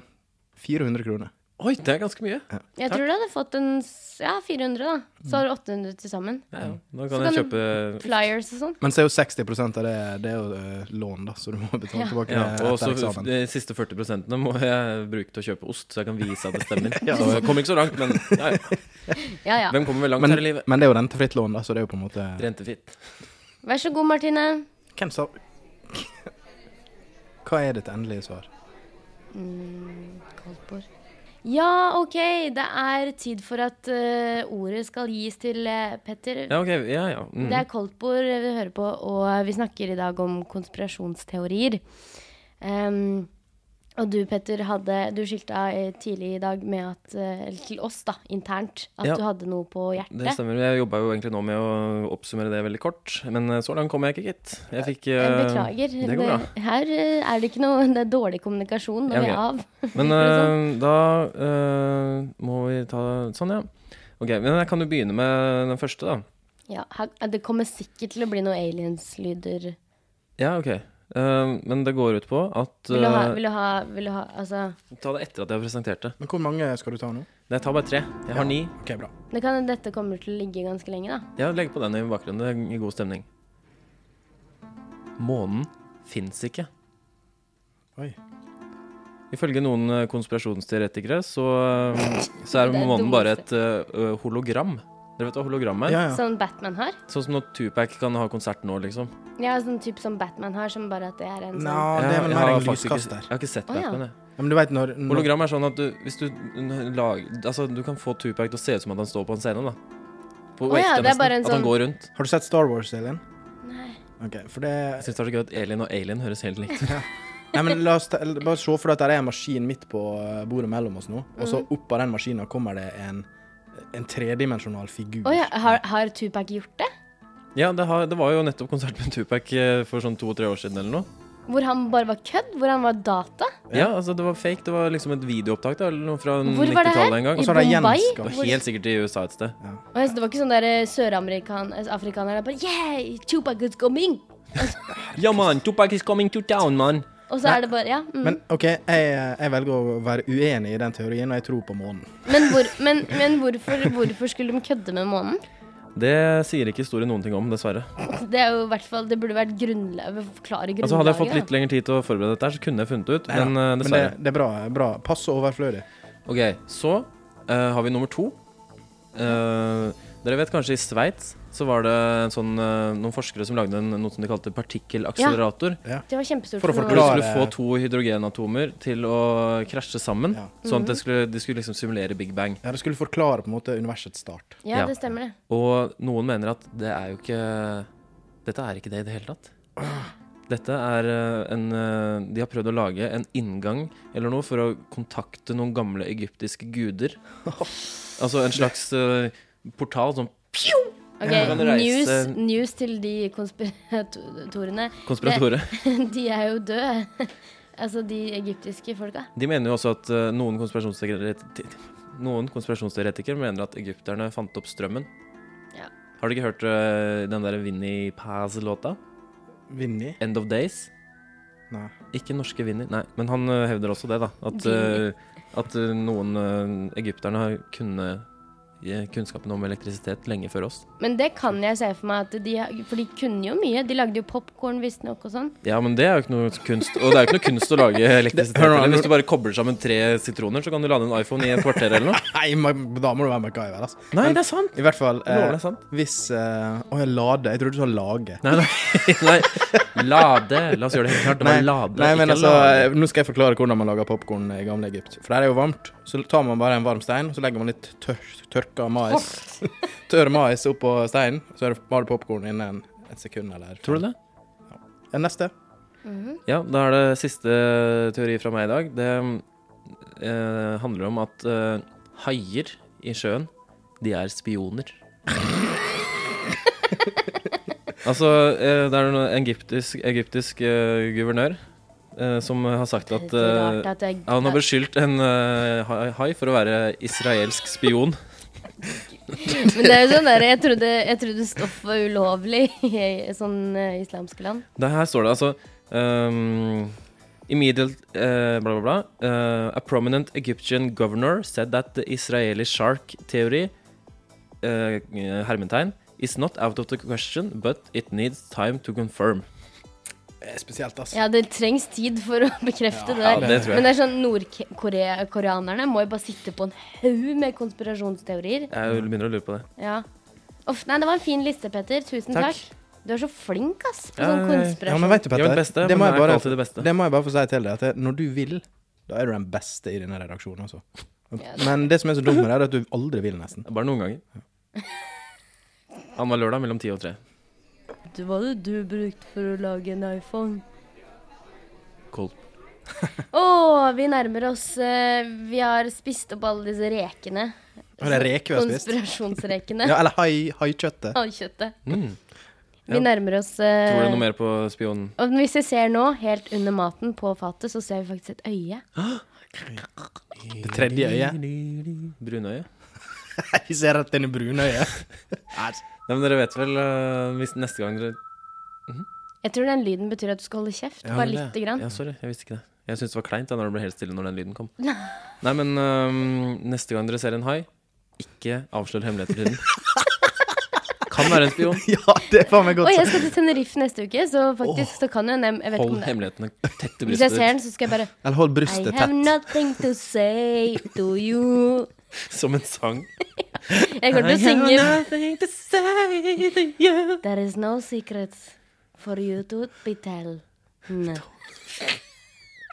Speaker 3: 400 kroner.
Speaker 2: Oi, det er ganske mye.
Speaker 1: Jeg tror du hadde fått en s- ja, 400, da. Så har du 800 til sammen.
Speaker 2: Ja,
Speaker 3: Mm.
Speaker 2: ja. Da
Speaker 1: Så
Speaker 2: kan
Speaker 1: kan
Speaker 2: jeg
Speaker 1: du-
Speaker 2: kjøpe
Speaker 1: Flyers og sånn.
Speaker 3: Men så er jo 60 av det, det er jo eh, lån, da, så du må betale tilbake
Speaker 2: ja,
Speaker 3: det
Speaker 2: og
Speaker 3: etter
Speaker 2: så
Speaker 3: eksamen.
Speaker 2: De siste 40 må jeg bruke til å kjøpe ost, så jeg kan vise at
Speaker 3: (laughs)
Speaker 2: det stemmer.
Speaker 3: Ja.
Speaker 2: Så jeg kommer ikke så langt, men ja, ja.
Speaker 1: Ja ja.
Speaker 2: hvem kommer vel langt
Speaker 3: Men,
Speaker 2: her i livet?
Speaker 3: men det er jo rentefritt lån, da, så det er jo på en måte
Speaker 2: Rentefritt.
Speaker 1: Vær så god, Martine.
Speaker 3: Hvem sa (laughs) Hva er ditt endelige svar?
Speaker 1: Koldtbord. Ja, OK. Det er tid for at eh, ordet skal gis til eh, Petter.
Speaker 2: Ja, ok. Ja, ja. Mm.
Speaker 1: Det er koldtbord vi hører på, og vi snakker i dag om konspirasjonsteorier. Ehm, og du, Petter, hadde, du skilta eh, tidlig i dag med at, eh, eller til oss da, internt at
Speaker 2: Ja.
Speaker 1: du hadde noe på hjertet.
Speaker 2: Det stemmer. Jeg jobba jo egentlig nå med å oppsummere det veldig kort, men eh, så langt kom jeg ikke, gitt. Jeg fikk
Speaker 1: Jeg
Speaker 2: eh,
Speaker 1: beklager.
Speaker 2: Det går bra.
Speaker 1: Det- her eh, er det ikke noe Det er dårlig kommunikasjon når (laughs)
Speaker 2: Ja,
Speaker 1: vi
Speaker 2: ok.
Speaker 1: er av.
Speaker 2: eh, Men eh, da eh, må vi ta Sånn, ja. Ok, men jeg kan jo begynne med den første, da.
Speaker 1: Ja, her, det kommer sikkert til å bli noen aliens-lyder.
Speaker 2: Ja, ok. Eh, men det går ut på at
Speaker 1: Vil du ha,
Speaker 2: eh,
Speaker 1: vil du ha, vil du ha Altså,
Speaker 2: Ta det etter at jeg har presentert det.
Speaker 3: Men hvor mange skal du ta nå?
Speaker 2: Nei, Jeg tar bare tre. Jeg har ni.
Speaker 3: Ok, bra.
Speaker 1: det kan, dette kommer til å ligge ganske lenge, da.
Speaker 2: Ja, legg på den i bakgrunnen. Det gir god stemning. Månen fins ikke.
Speaker 3: Oi.
Speaker 2: Ifølge noen eh, konspirasjonsteoretikere så, eh, så er
Speaker 1: Det er
Speaker 2: månen
Speaker 1: dumt.
Speaker 2: bare et eh, hologram. Dere vet hva hologram er?
Speaker 3: Ja, ja.
Speaker 1: Sånn Batman har.
Speaker 2: Sånn som når Tupac kan ha konsert nå, liksom.
Speaker 1: Ja, sånn type som Batman har, som bare at det er en
Speaker 3: Nå,
Speaker 1: sånn
Speaker 3: det er
Speaker 2: Jeg-
Speaker 3: vel
Speaker 2: jeg
Speaker 3: mer
Speaker 2: har
Speaker 3: en
Speaker 2: faktisk ikke-
Speaker 3: lyskaster.
Speaker 2: Jeg har ikke sett
Speaker 1: Å, ja.
Speaker 2: Batman, jeg.
Speaker 3: Ja, men du vet når, når
Speaker 2: Hologram er sånn at du, hvis du n- lager Altså, du kan få Tupac til å se ut som at han står på en scene, da. På
Speaker 1: Å, ja,
Speaker 2: ekte,
Speaker 1: det er
Speaker 2: nesten.
Speaker 1: bare en
Speaker 2: At han
Speaker 1: sånn-
Speaker 2: går rundt.
Speaker 3: Har du sett Star Wars, Elin?
Speaker 1: Nei.
Speaker 3: Ok, for det
Speaker 2: Jeg syns det er så gøy at Elin og Alien høres helt likt ut.
Speaker 3: Nei, men la oss ta, eller bare se for deg at det er en maskin midt på eh, bordet mellom oss nå,
Speaker 1: Mm.
Speaker 3: og så opp av den maskinen kommer det en, en tredimensjonal figur.
Speaker 1: Å ja, har, har Tupac gjort det?
Speaker 2: Ja, det, har, det var jo nettopp konsert med Tupac eh, for sånn to-tre år siden eller noe.
Speaker 1: Hvor han bare var kødd? Hvor han var data?
Speaker 2: Ja, altså det var fake. Det var liksom et videoopptak da, eller noe fra
Speaker 1: Hvor var det her?
Speaker 2: 90-tallet Mm, en gang.
Speaker 3: Og
Speaker 1: I
Speaker 3: så har de
Speaker 1: Bombay?
Speaker 3: gjenskapt-
Speaker 2: Det
Speaker 1: Hvor-
Speaker 2: var helt sikkert i USA et sted.
Speaker 1: Å, ja, så det var ikke sånn der eh, søramerikan- altså, afrikanere bare Yeah, Tupac is coming!
Speaker 2: Ja, man, Tupac is coming to town, man.
Speaker 1: Og så er det bare Ja. Mm. Men,
Speaker 3: Men OK, jeg, jeg velger å være uenig i den teorien, og jeg tror på månen.
Speaker 1: hvor, men, men hvorfor, hvorfor skulle de kødde med månen?
Speaker 2: Det sier ikke historien noen ting om, dessverre.
Speaker 1: Det er jo i hvert fall Det burde vært grunnlag Forklare grunnlaget.
Speaker 2: Altså Hadde jeg fått
Speaker 1: da.
Speaker 2: litt lengre tid til å forberede dette, her, så kunne jeg funnet det ut, men eh,
Speaker 3: Men det,
Speaker 2: dessverre.
Speaker 3: det er bra. bra. Pass og overflødig.
Speaker 2: Ok, så eh, har vi nummer to. Eh, dere vet kanskje i Sveits så var det en sånn, eh, noen forskere som lagde en, noe som de kalte partikkelakselerator.
Speaker 1: Det var kjempestort.
Speaker 3: For å
Speaker 1: for noen
Speaker 2: Hvor du
Speaker 1: år
Speaker 3: forklare-
Speaker 2: skulle få to hydrogenatomer til å krasje sammen.
Speaker 3: Ja.
Speaker 2: Sånn at det skulle, de skulle liksom simulere Big Bang.
Speaker 3: Ja, det skulle forklare på en måte universets start.
Speaker 1: siden. Ja,
Speaker 2: Ja.
Speaker 1: det stemmer, det.
Speaker 2: Og noen mener at det er jo ikke Dette er ikke det i det hele tatt. Dette er eh, en eh, De har prøvd å lage en inngang eller noe for å kontakte noen gamle egyptiske guder. Altså en slags eh, portal, sånn
Speaker 1: Ok,
Speaker 2: Ja. Du kan
Speaker 1: news,
Speaker 2: reise-
Speaker 1: news til de konspiratorene.
Speaker 2: konspiratore.
Speaker 1: (laughs) De er jo døde. (laughs) altså de egyptiske folka.
Speaker 2: De mener jo også at eh, noen, konspirasjonsteoretikere, noen konspirasjonsteoretikere mener at egypterne fant opp strømmen.
Speaker 1: Ja.
Speaker 2: Har du ikke hørt eh, den der Vinnie Paz-låta?
Speaker 3: Vinni?
Speaker 2: 'End of Days'?
Speaker 3: Nei.
Speaker 2: Ikke norske Vinnie, nei. Men han eh, hevder også det, da. At, eh, at eh, noen eh, egypterne har kunnet gi kunnskapen om elektrisitet lenge før oss.
Speaker 1: Men det kan jeg se for meg, at de, har- for de kunne jo mye. De lagde jo popkorn visstnok og sånn.
Speaker 2: Ja, men det er jo ikke noe kunst. Og det er jo ikke noe kunst å
Speaker 3: (laughs)
Speaker 2: lage elektrisitet.
Speaker 3: Hør nå,
Speaker 2: eller.
Speaker 3: hør nå.
Speaker 2: Hvis du bare kobler sammen tre sitroner, så kan du lade en iPhone i et kvarter eller
Speaker 3: (laughs)
Speaker 2: noe.
Speaker 3: Nei, ma- da må du være MacGyver, altså.
Speaker 2: Nei, det er sant!
Speaker 3: I hvert fall
Speaker 2: Jeg
Speaker 3: eh,
Speaker 2: lover det er sant.
Speaker 3: Hvis eh, Å, jeg lade. Jeg trodde du sa lage.
Speaker 2: Nei, (laughs) nei, nei. Lade. La oss gjøre det helt klart. Det var lade,
Speaker 3: nei, men
Speaker 2: ikke
Speaker 3: altså,
Speaker 2: lade.
Speaker 3: Nå skal jeg forklare hvordan man lager popkorn i gamle Egypt. For der er jo varmt. Så tar man bare en varm stein, så legger man litt tør, tørka mais (laughs) Tørr mais oppå steinen, så er det bare popkorn innen et sekund eller
Speaker 2: Tror du det?
Speaker 3: Ja, neste.
Speaker 2: Ja, da er det siste eh, teori fra meg i dag. Det eh, handler om at eh, haier i sjøen, de er spioner. (laughs) altså, eh, det er en egyptisk, egyptisk eh, guvernør eh, som har sagt at
Speaker 1: Det er så rart
Speaker 2: eh,
Speaker 1: at jeg,
Speaker 2: ja, Han har beskyldt en eh, hai hai for å være israelsk spion.
Speaker 1: Men det er jo sånn der,
Speaker 2: (laughs)
Speaker 1: jeg trodde, jeg trodde stoff var ulovlig (laughs) i sånn eh, islamske land.
Speaker 2: Det her står det altså um, Immediate eh, bla, bla, bla. eh, a prominent Egyptian governor said that the Israeli shark theory eh, hermetegn is not out of the question, but it needs time to confirm.
Speaker 3: Eh, Spesielt, altså.
Speaker 1: Ja, det trengs tid for å (laughs) bekrefte det
Speaker 2: Ja,
Speaker 1: der.
Speaker 2: det tror
Speaker 1: Men
Speaker 2: jeg.
Speaker 1: det er sånn nordkoreanerne må jo bare sitte på en haug med konspirasjonsteorier.
Speaker 2: Jeg begynner å lure på det.
Speaker 1: Ja. Uff, nei, det var en fin liste, Petter. Tusen takk.
Speaker 2: Takk.
Speaker 1: Du er så flink, ass, på
Speaker 2: Ja,
Speaker 1: sånn
Speaker 2: ja, ja.
Speaker 3: Ja,
Speaker 1: konspirasjon.
Speaker 3: men vet du,
Speaker 2: Jeg
Speaker 3: Petter,
Speaker 2: var den beste,
Speaker 3: det, må
Speaker 2: men
Speaker 3: jeg
Speaker 2: jeg er
Speaker 3: bare,
Speaker 2: ikke alltid det beste.
Speaker 3: det må jeg bare få si til deg, at det- når du vil, da er du den beste i denne redaksjonen, altså. Men det som er så dumt med det, er at du aldri vil, nesten.
Speaker 2: Bare noen ganger. Annenhver lørdag mellom ti og tre.
Speaker 1: Du, hva hadde du brukt for å lage en iPhone?
Speaker 2: Cold.
Speaker 1: Å, vi nærmer oss eh, Vi har spist opp alle disse rekene.
Speaker 3: Og det er Sånn reker vi har spist.
Speaker 1: Konspirasjonsrekene.
Speaker 3: (laughs) Ja, eller hai- haikjøttet.
Speaker 1: Av kjøttet.
Speaker 2: Mm.
Speaker 1: Vi nærmer oss
Speaker 2: Tror du
Speaker 1: eh,
Speaker 2: noe mer på spionen?
Speaker 1: Og hvis vi ser nå, helt under maten på fatet, så ser vi faktisk et øye.
Speaker 3: Det tredje øyet.
Speaker 2: Brunøye?
Speaker 3: Jeg ser rett inn i brunøyet.
Speaker 2: Nei, men dere vet vel eh, hvis neste gang dere
Speaker 1: Jeg tror den lyden betyr at du skal holde kjeft.
Speaker 3: Ja,
Speaker 1: bare
Speaker 3: men
Speaker 1: lite grann.
Speaker 2: Ja, sorry, jeg visste ikke det. Jeg syntes det var kleint da når det ble helt stille når den lyden kom. Nei, men øhm, neste gang dere ser en hai, ikke avslør hemmeligheter til den.
Speaker 1: (laughs)
Speaker 2: Kan være en spion.
Speaker 3: (laughs) Ja, det er faen meg
Speaker 1: Og
Speaker 3: godt.
Speaker 1: jeg skal til Tenerife neste uke, så faktisk så kan jo en jeg vet ikke
Speaker 2: Hold
Speaker 1: om det.
Speaker 2: hemmelighetene tett til
Speaker 1: Hvis jeg
Speaker 2: brystet
Speaker 1: ser
Speaker 2: ditt.
Speaker 1: den, så skal jeg bare
Speaker 3: Eller hold
Speaker 1: I
Speaker 3: brystet
Speaker 1: have
Speaker 3: tett.
Speaker 1: nothing to say to you.
Speaker 2: Som en sang.
Speaker 1: Jeg kommer til å synge
Speaker 2: nothing to say to you.
Speaker 1: There is no secrets for you to be tell. Nei.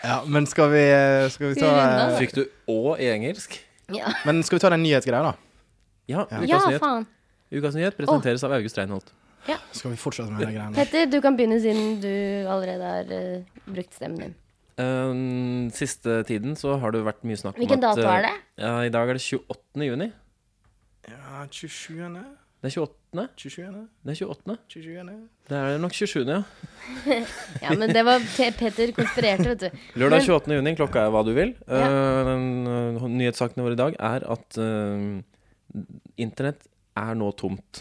Speaker 3: Ja, men skal vi, eh, skal vi ta eh,
Speaker 1: Skal vi runde
Speaker 2: Fikk du Å i engelsk?
Speaker 1: Ja,
Speaker 3: Men skal vi ta den nyhetsgreia, da?
Speaker 2: Ja. Ukas,
Speaker 1: ja
Speaker 2: nyhet.
Speaker 1: faen.
Speaker 2: Ukas nyhet presenteres av August Reinholt.
Speaker 3: Skal vi fortsette med de greiene?
Speaker 1: Petter, du kan begynne siden du allerede har eh, brukt stemmen din.
Speaker 2: Øhm, siste tiden så har det vært mye snakk om
Speaker 1: Hvilken
Speaker 2: at
Speaker 1: dato
Speaker 2: øh,
Speaker 1: er det?
Speaker 2: Ja, I dag er det 28. juni.
Speaker 3: Ja, 27.
Speaker 2: Det er 28.
Speaker 3: 27.
Speaker 2: Det er 28.
Speaker 3: 27.
Speaker 2: Det er nok 27., ja.
Speaker 1: Ja, men det var Pe- Petter konspirerte, vet du.
Speaker 2: Lørdag
Speaker 1: Men-
Speaker 2: 28. juni, klokka er hva du vil. Eh, den, eh, nyhetssakene våre i dag er at eh, internett er nå
Speaker 3: (laughs)
Speaker 2: tomt.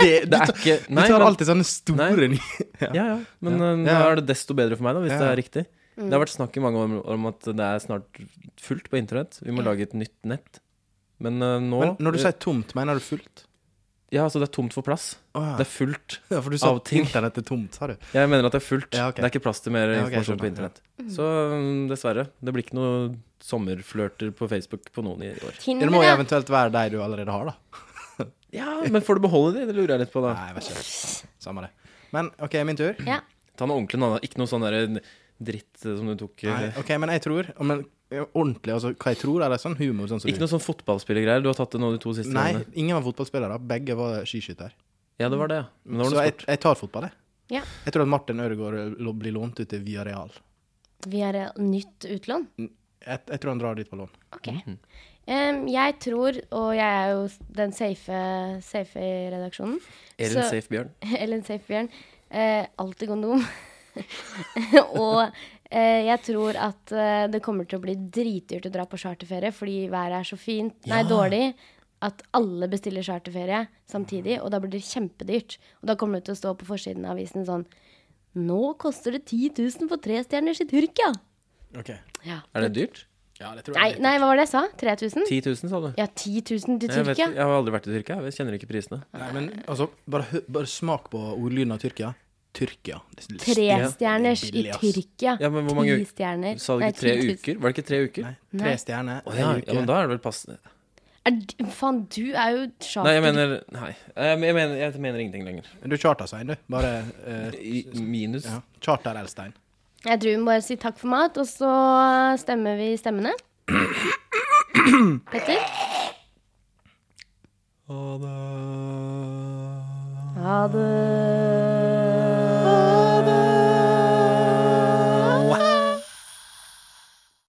Speaker 3: Det,
Speaker 2: Det er ikke
Speaker 3: du
Speaker 2: Nei,
Speaker 3: tar
Speaker 2: men,
Speaker 3: alltid sånne store ny...
Speaker 2: ja, ja, men eh, da
Speaker 3: Ja, ja.
Speaker 2: er det desto bedre for meg, da, hvis
Speaker 3: Ja,
Speaker 2: det
Speaker 3: ja. Mm.
Speaker 2: er riktig. Det har vært snakk i mange år om, om at det er snart fullt på internett. Vi må lage et nytt nett. Men eh, nå
Speaker 3: Men når du sier tomt, mener du fullt?
Speaker 2: Ja, altså, det er tomt for plass.
Speaker 3: Å, ja.
Speaker 2: Det er fullt.
Speaker 3: Ja, for du sa
Speaker 2: av ting.
Speaker 3: internett er tomt, sa du.
Speaker 2: Jeg mener at det er fullt.
Speaker 3: Ja, ok.
Speaker 2: Det er ikke plass til mer
Speaker 3: Ja, ok,
Speaker 2: informasjon på
Speaker 3: skjønner, ja.
Speaker 2: internett. Så mm, dessverre. Det blir ikke noe sommerflørter på Facebook på noen i år.
Speaker 1: Tinder,
Speaker 3: Det må jo
Speaker 1: ja.
Speaker 3: eventuelt være de du allerede har, da.
Speaker 2: Ja, men får du beholde de? Det lurer jeg litt på, da.
Speaker 3: Nei, jeg vet ikke. Samme det. Men OK, min tur.
Speaker 1: ja.
Speaker 2: Ta noe ordentlig, da. Ikke noe sånn der dritt eh, som du tok eh,
Speaker 3: Nei, OK, men jeg tror og men, Ordentlig, altså hva jeg tror, eller sånn humor sånn som
Speaker 2: Ikke noe sånn fotballspillergreier. Du har tatt det nå de to siste
Speaker 3: Nei,
Speaker 2: gangene.
Speaker 3: ingen var fotballspillere. Begge var skiskytter.
Speaker 2: Ja, det var det, ja. Men da var
Speaker 3: Så
Speaker 2: det
Speaker 3: jeg,
Speaker 2: sport.
Speaker 3: jeg tar fotball, jeg.
Speaker 1: ja.
Speaker 3: Jeg tror at Martin Ødegaard eh, lo- blir lånt ut til Villarreal.
Speaker 1: Vi har eh, nytt utlån.
Speaker 3: Jeg, jeg tror han drar dit på lån.
Speaker 1: Ok. Em, jeg tror, og jeg er jo den safe, safe i redaksjonen
Speaker 2: Elin
Speaker 1: så-
Speaker 2: Safe Bjørn.
Speaker 1: (laughs) Ellen Safe Bjørn. Eh, alltid kondom. (laughs) og eh, jeg tror at eh, det kommer til å bli dritdyrt å dra på charterferie fordi været er så fint, nei, dårlig, at alle bestiller charterferie samtidig, og da blir det kjempedyrt. Og da kommer det til å stå på forsiden av avisen sånn Nå koster det 10 000 for tre stjerners i Tyrkia!
Speaker 3: Ok.
Speaker 1: Ja.
Speaker 2: Er det dyrt?
Speaker 3: Ja, det tror
Speaker 1: Nei, nei, hva var det jeg sa? 3000?
Speaker 2: 10 000, sa du?
Speaker 1: Ja, 10 000 til
Speaker 2: Jeg, vet,
Speaker 1: Tyrkia.
Speaker 2: jeg har aldri vært i Tyrkia. Jeg kjenner ikke prisene.
Speaker 3: Nei, men altså, bare, hø- bare smak på ordlyden av Tyrkia. Tyrkia. Det er
Speaker 1: Tre stjerners
Speaker 3: Det er
Speaker 1: i
Speaker 3: billig, ass.
Speaker 1: Tyrkia.
Speaker 2: Ja, men hvor mange
Speaker 1: Ti
Speaker 2: uker-
Speaker 1: stjerner.
Speaker 2: Sa du
Speaker 1: Nei,
Speaker 2: ikke tre
Speaker 1: 10 000.
Speaker 2: uker? Var det ikke tre uker?
Speaker 3: Nei, tre stjerner.
Speaker 2: Å, ja,
Speaker 3: en uke.
Speaker 2: ja, men da er det vel passende.
Speaker 1: Er, d- faen, du er jo charter...
Speaker 2: Nei, jeg mener Nei. Jeg mener, jeg mener ingenting lenger.
Speaker 3: Du charter Svein, du. Bare eh,
Speaker 2: I minus.
Speaker 3: ja. charter Elstein.
Speaker 1: Jeg tror vi må bare si takk for mat, og så stemmer vi
Speaker 2: (clears throat)
Speaker 1: stemmene. Petter? Ha det.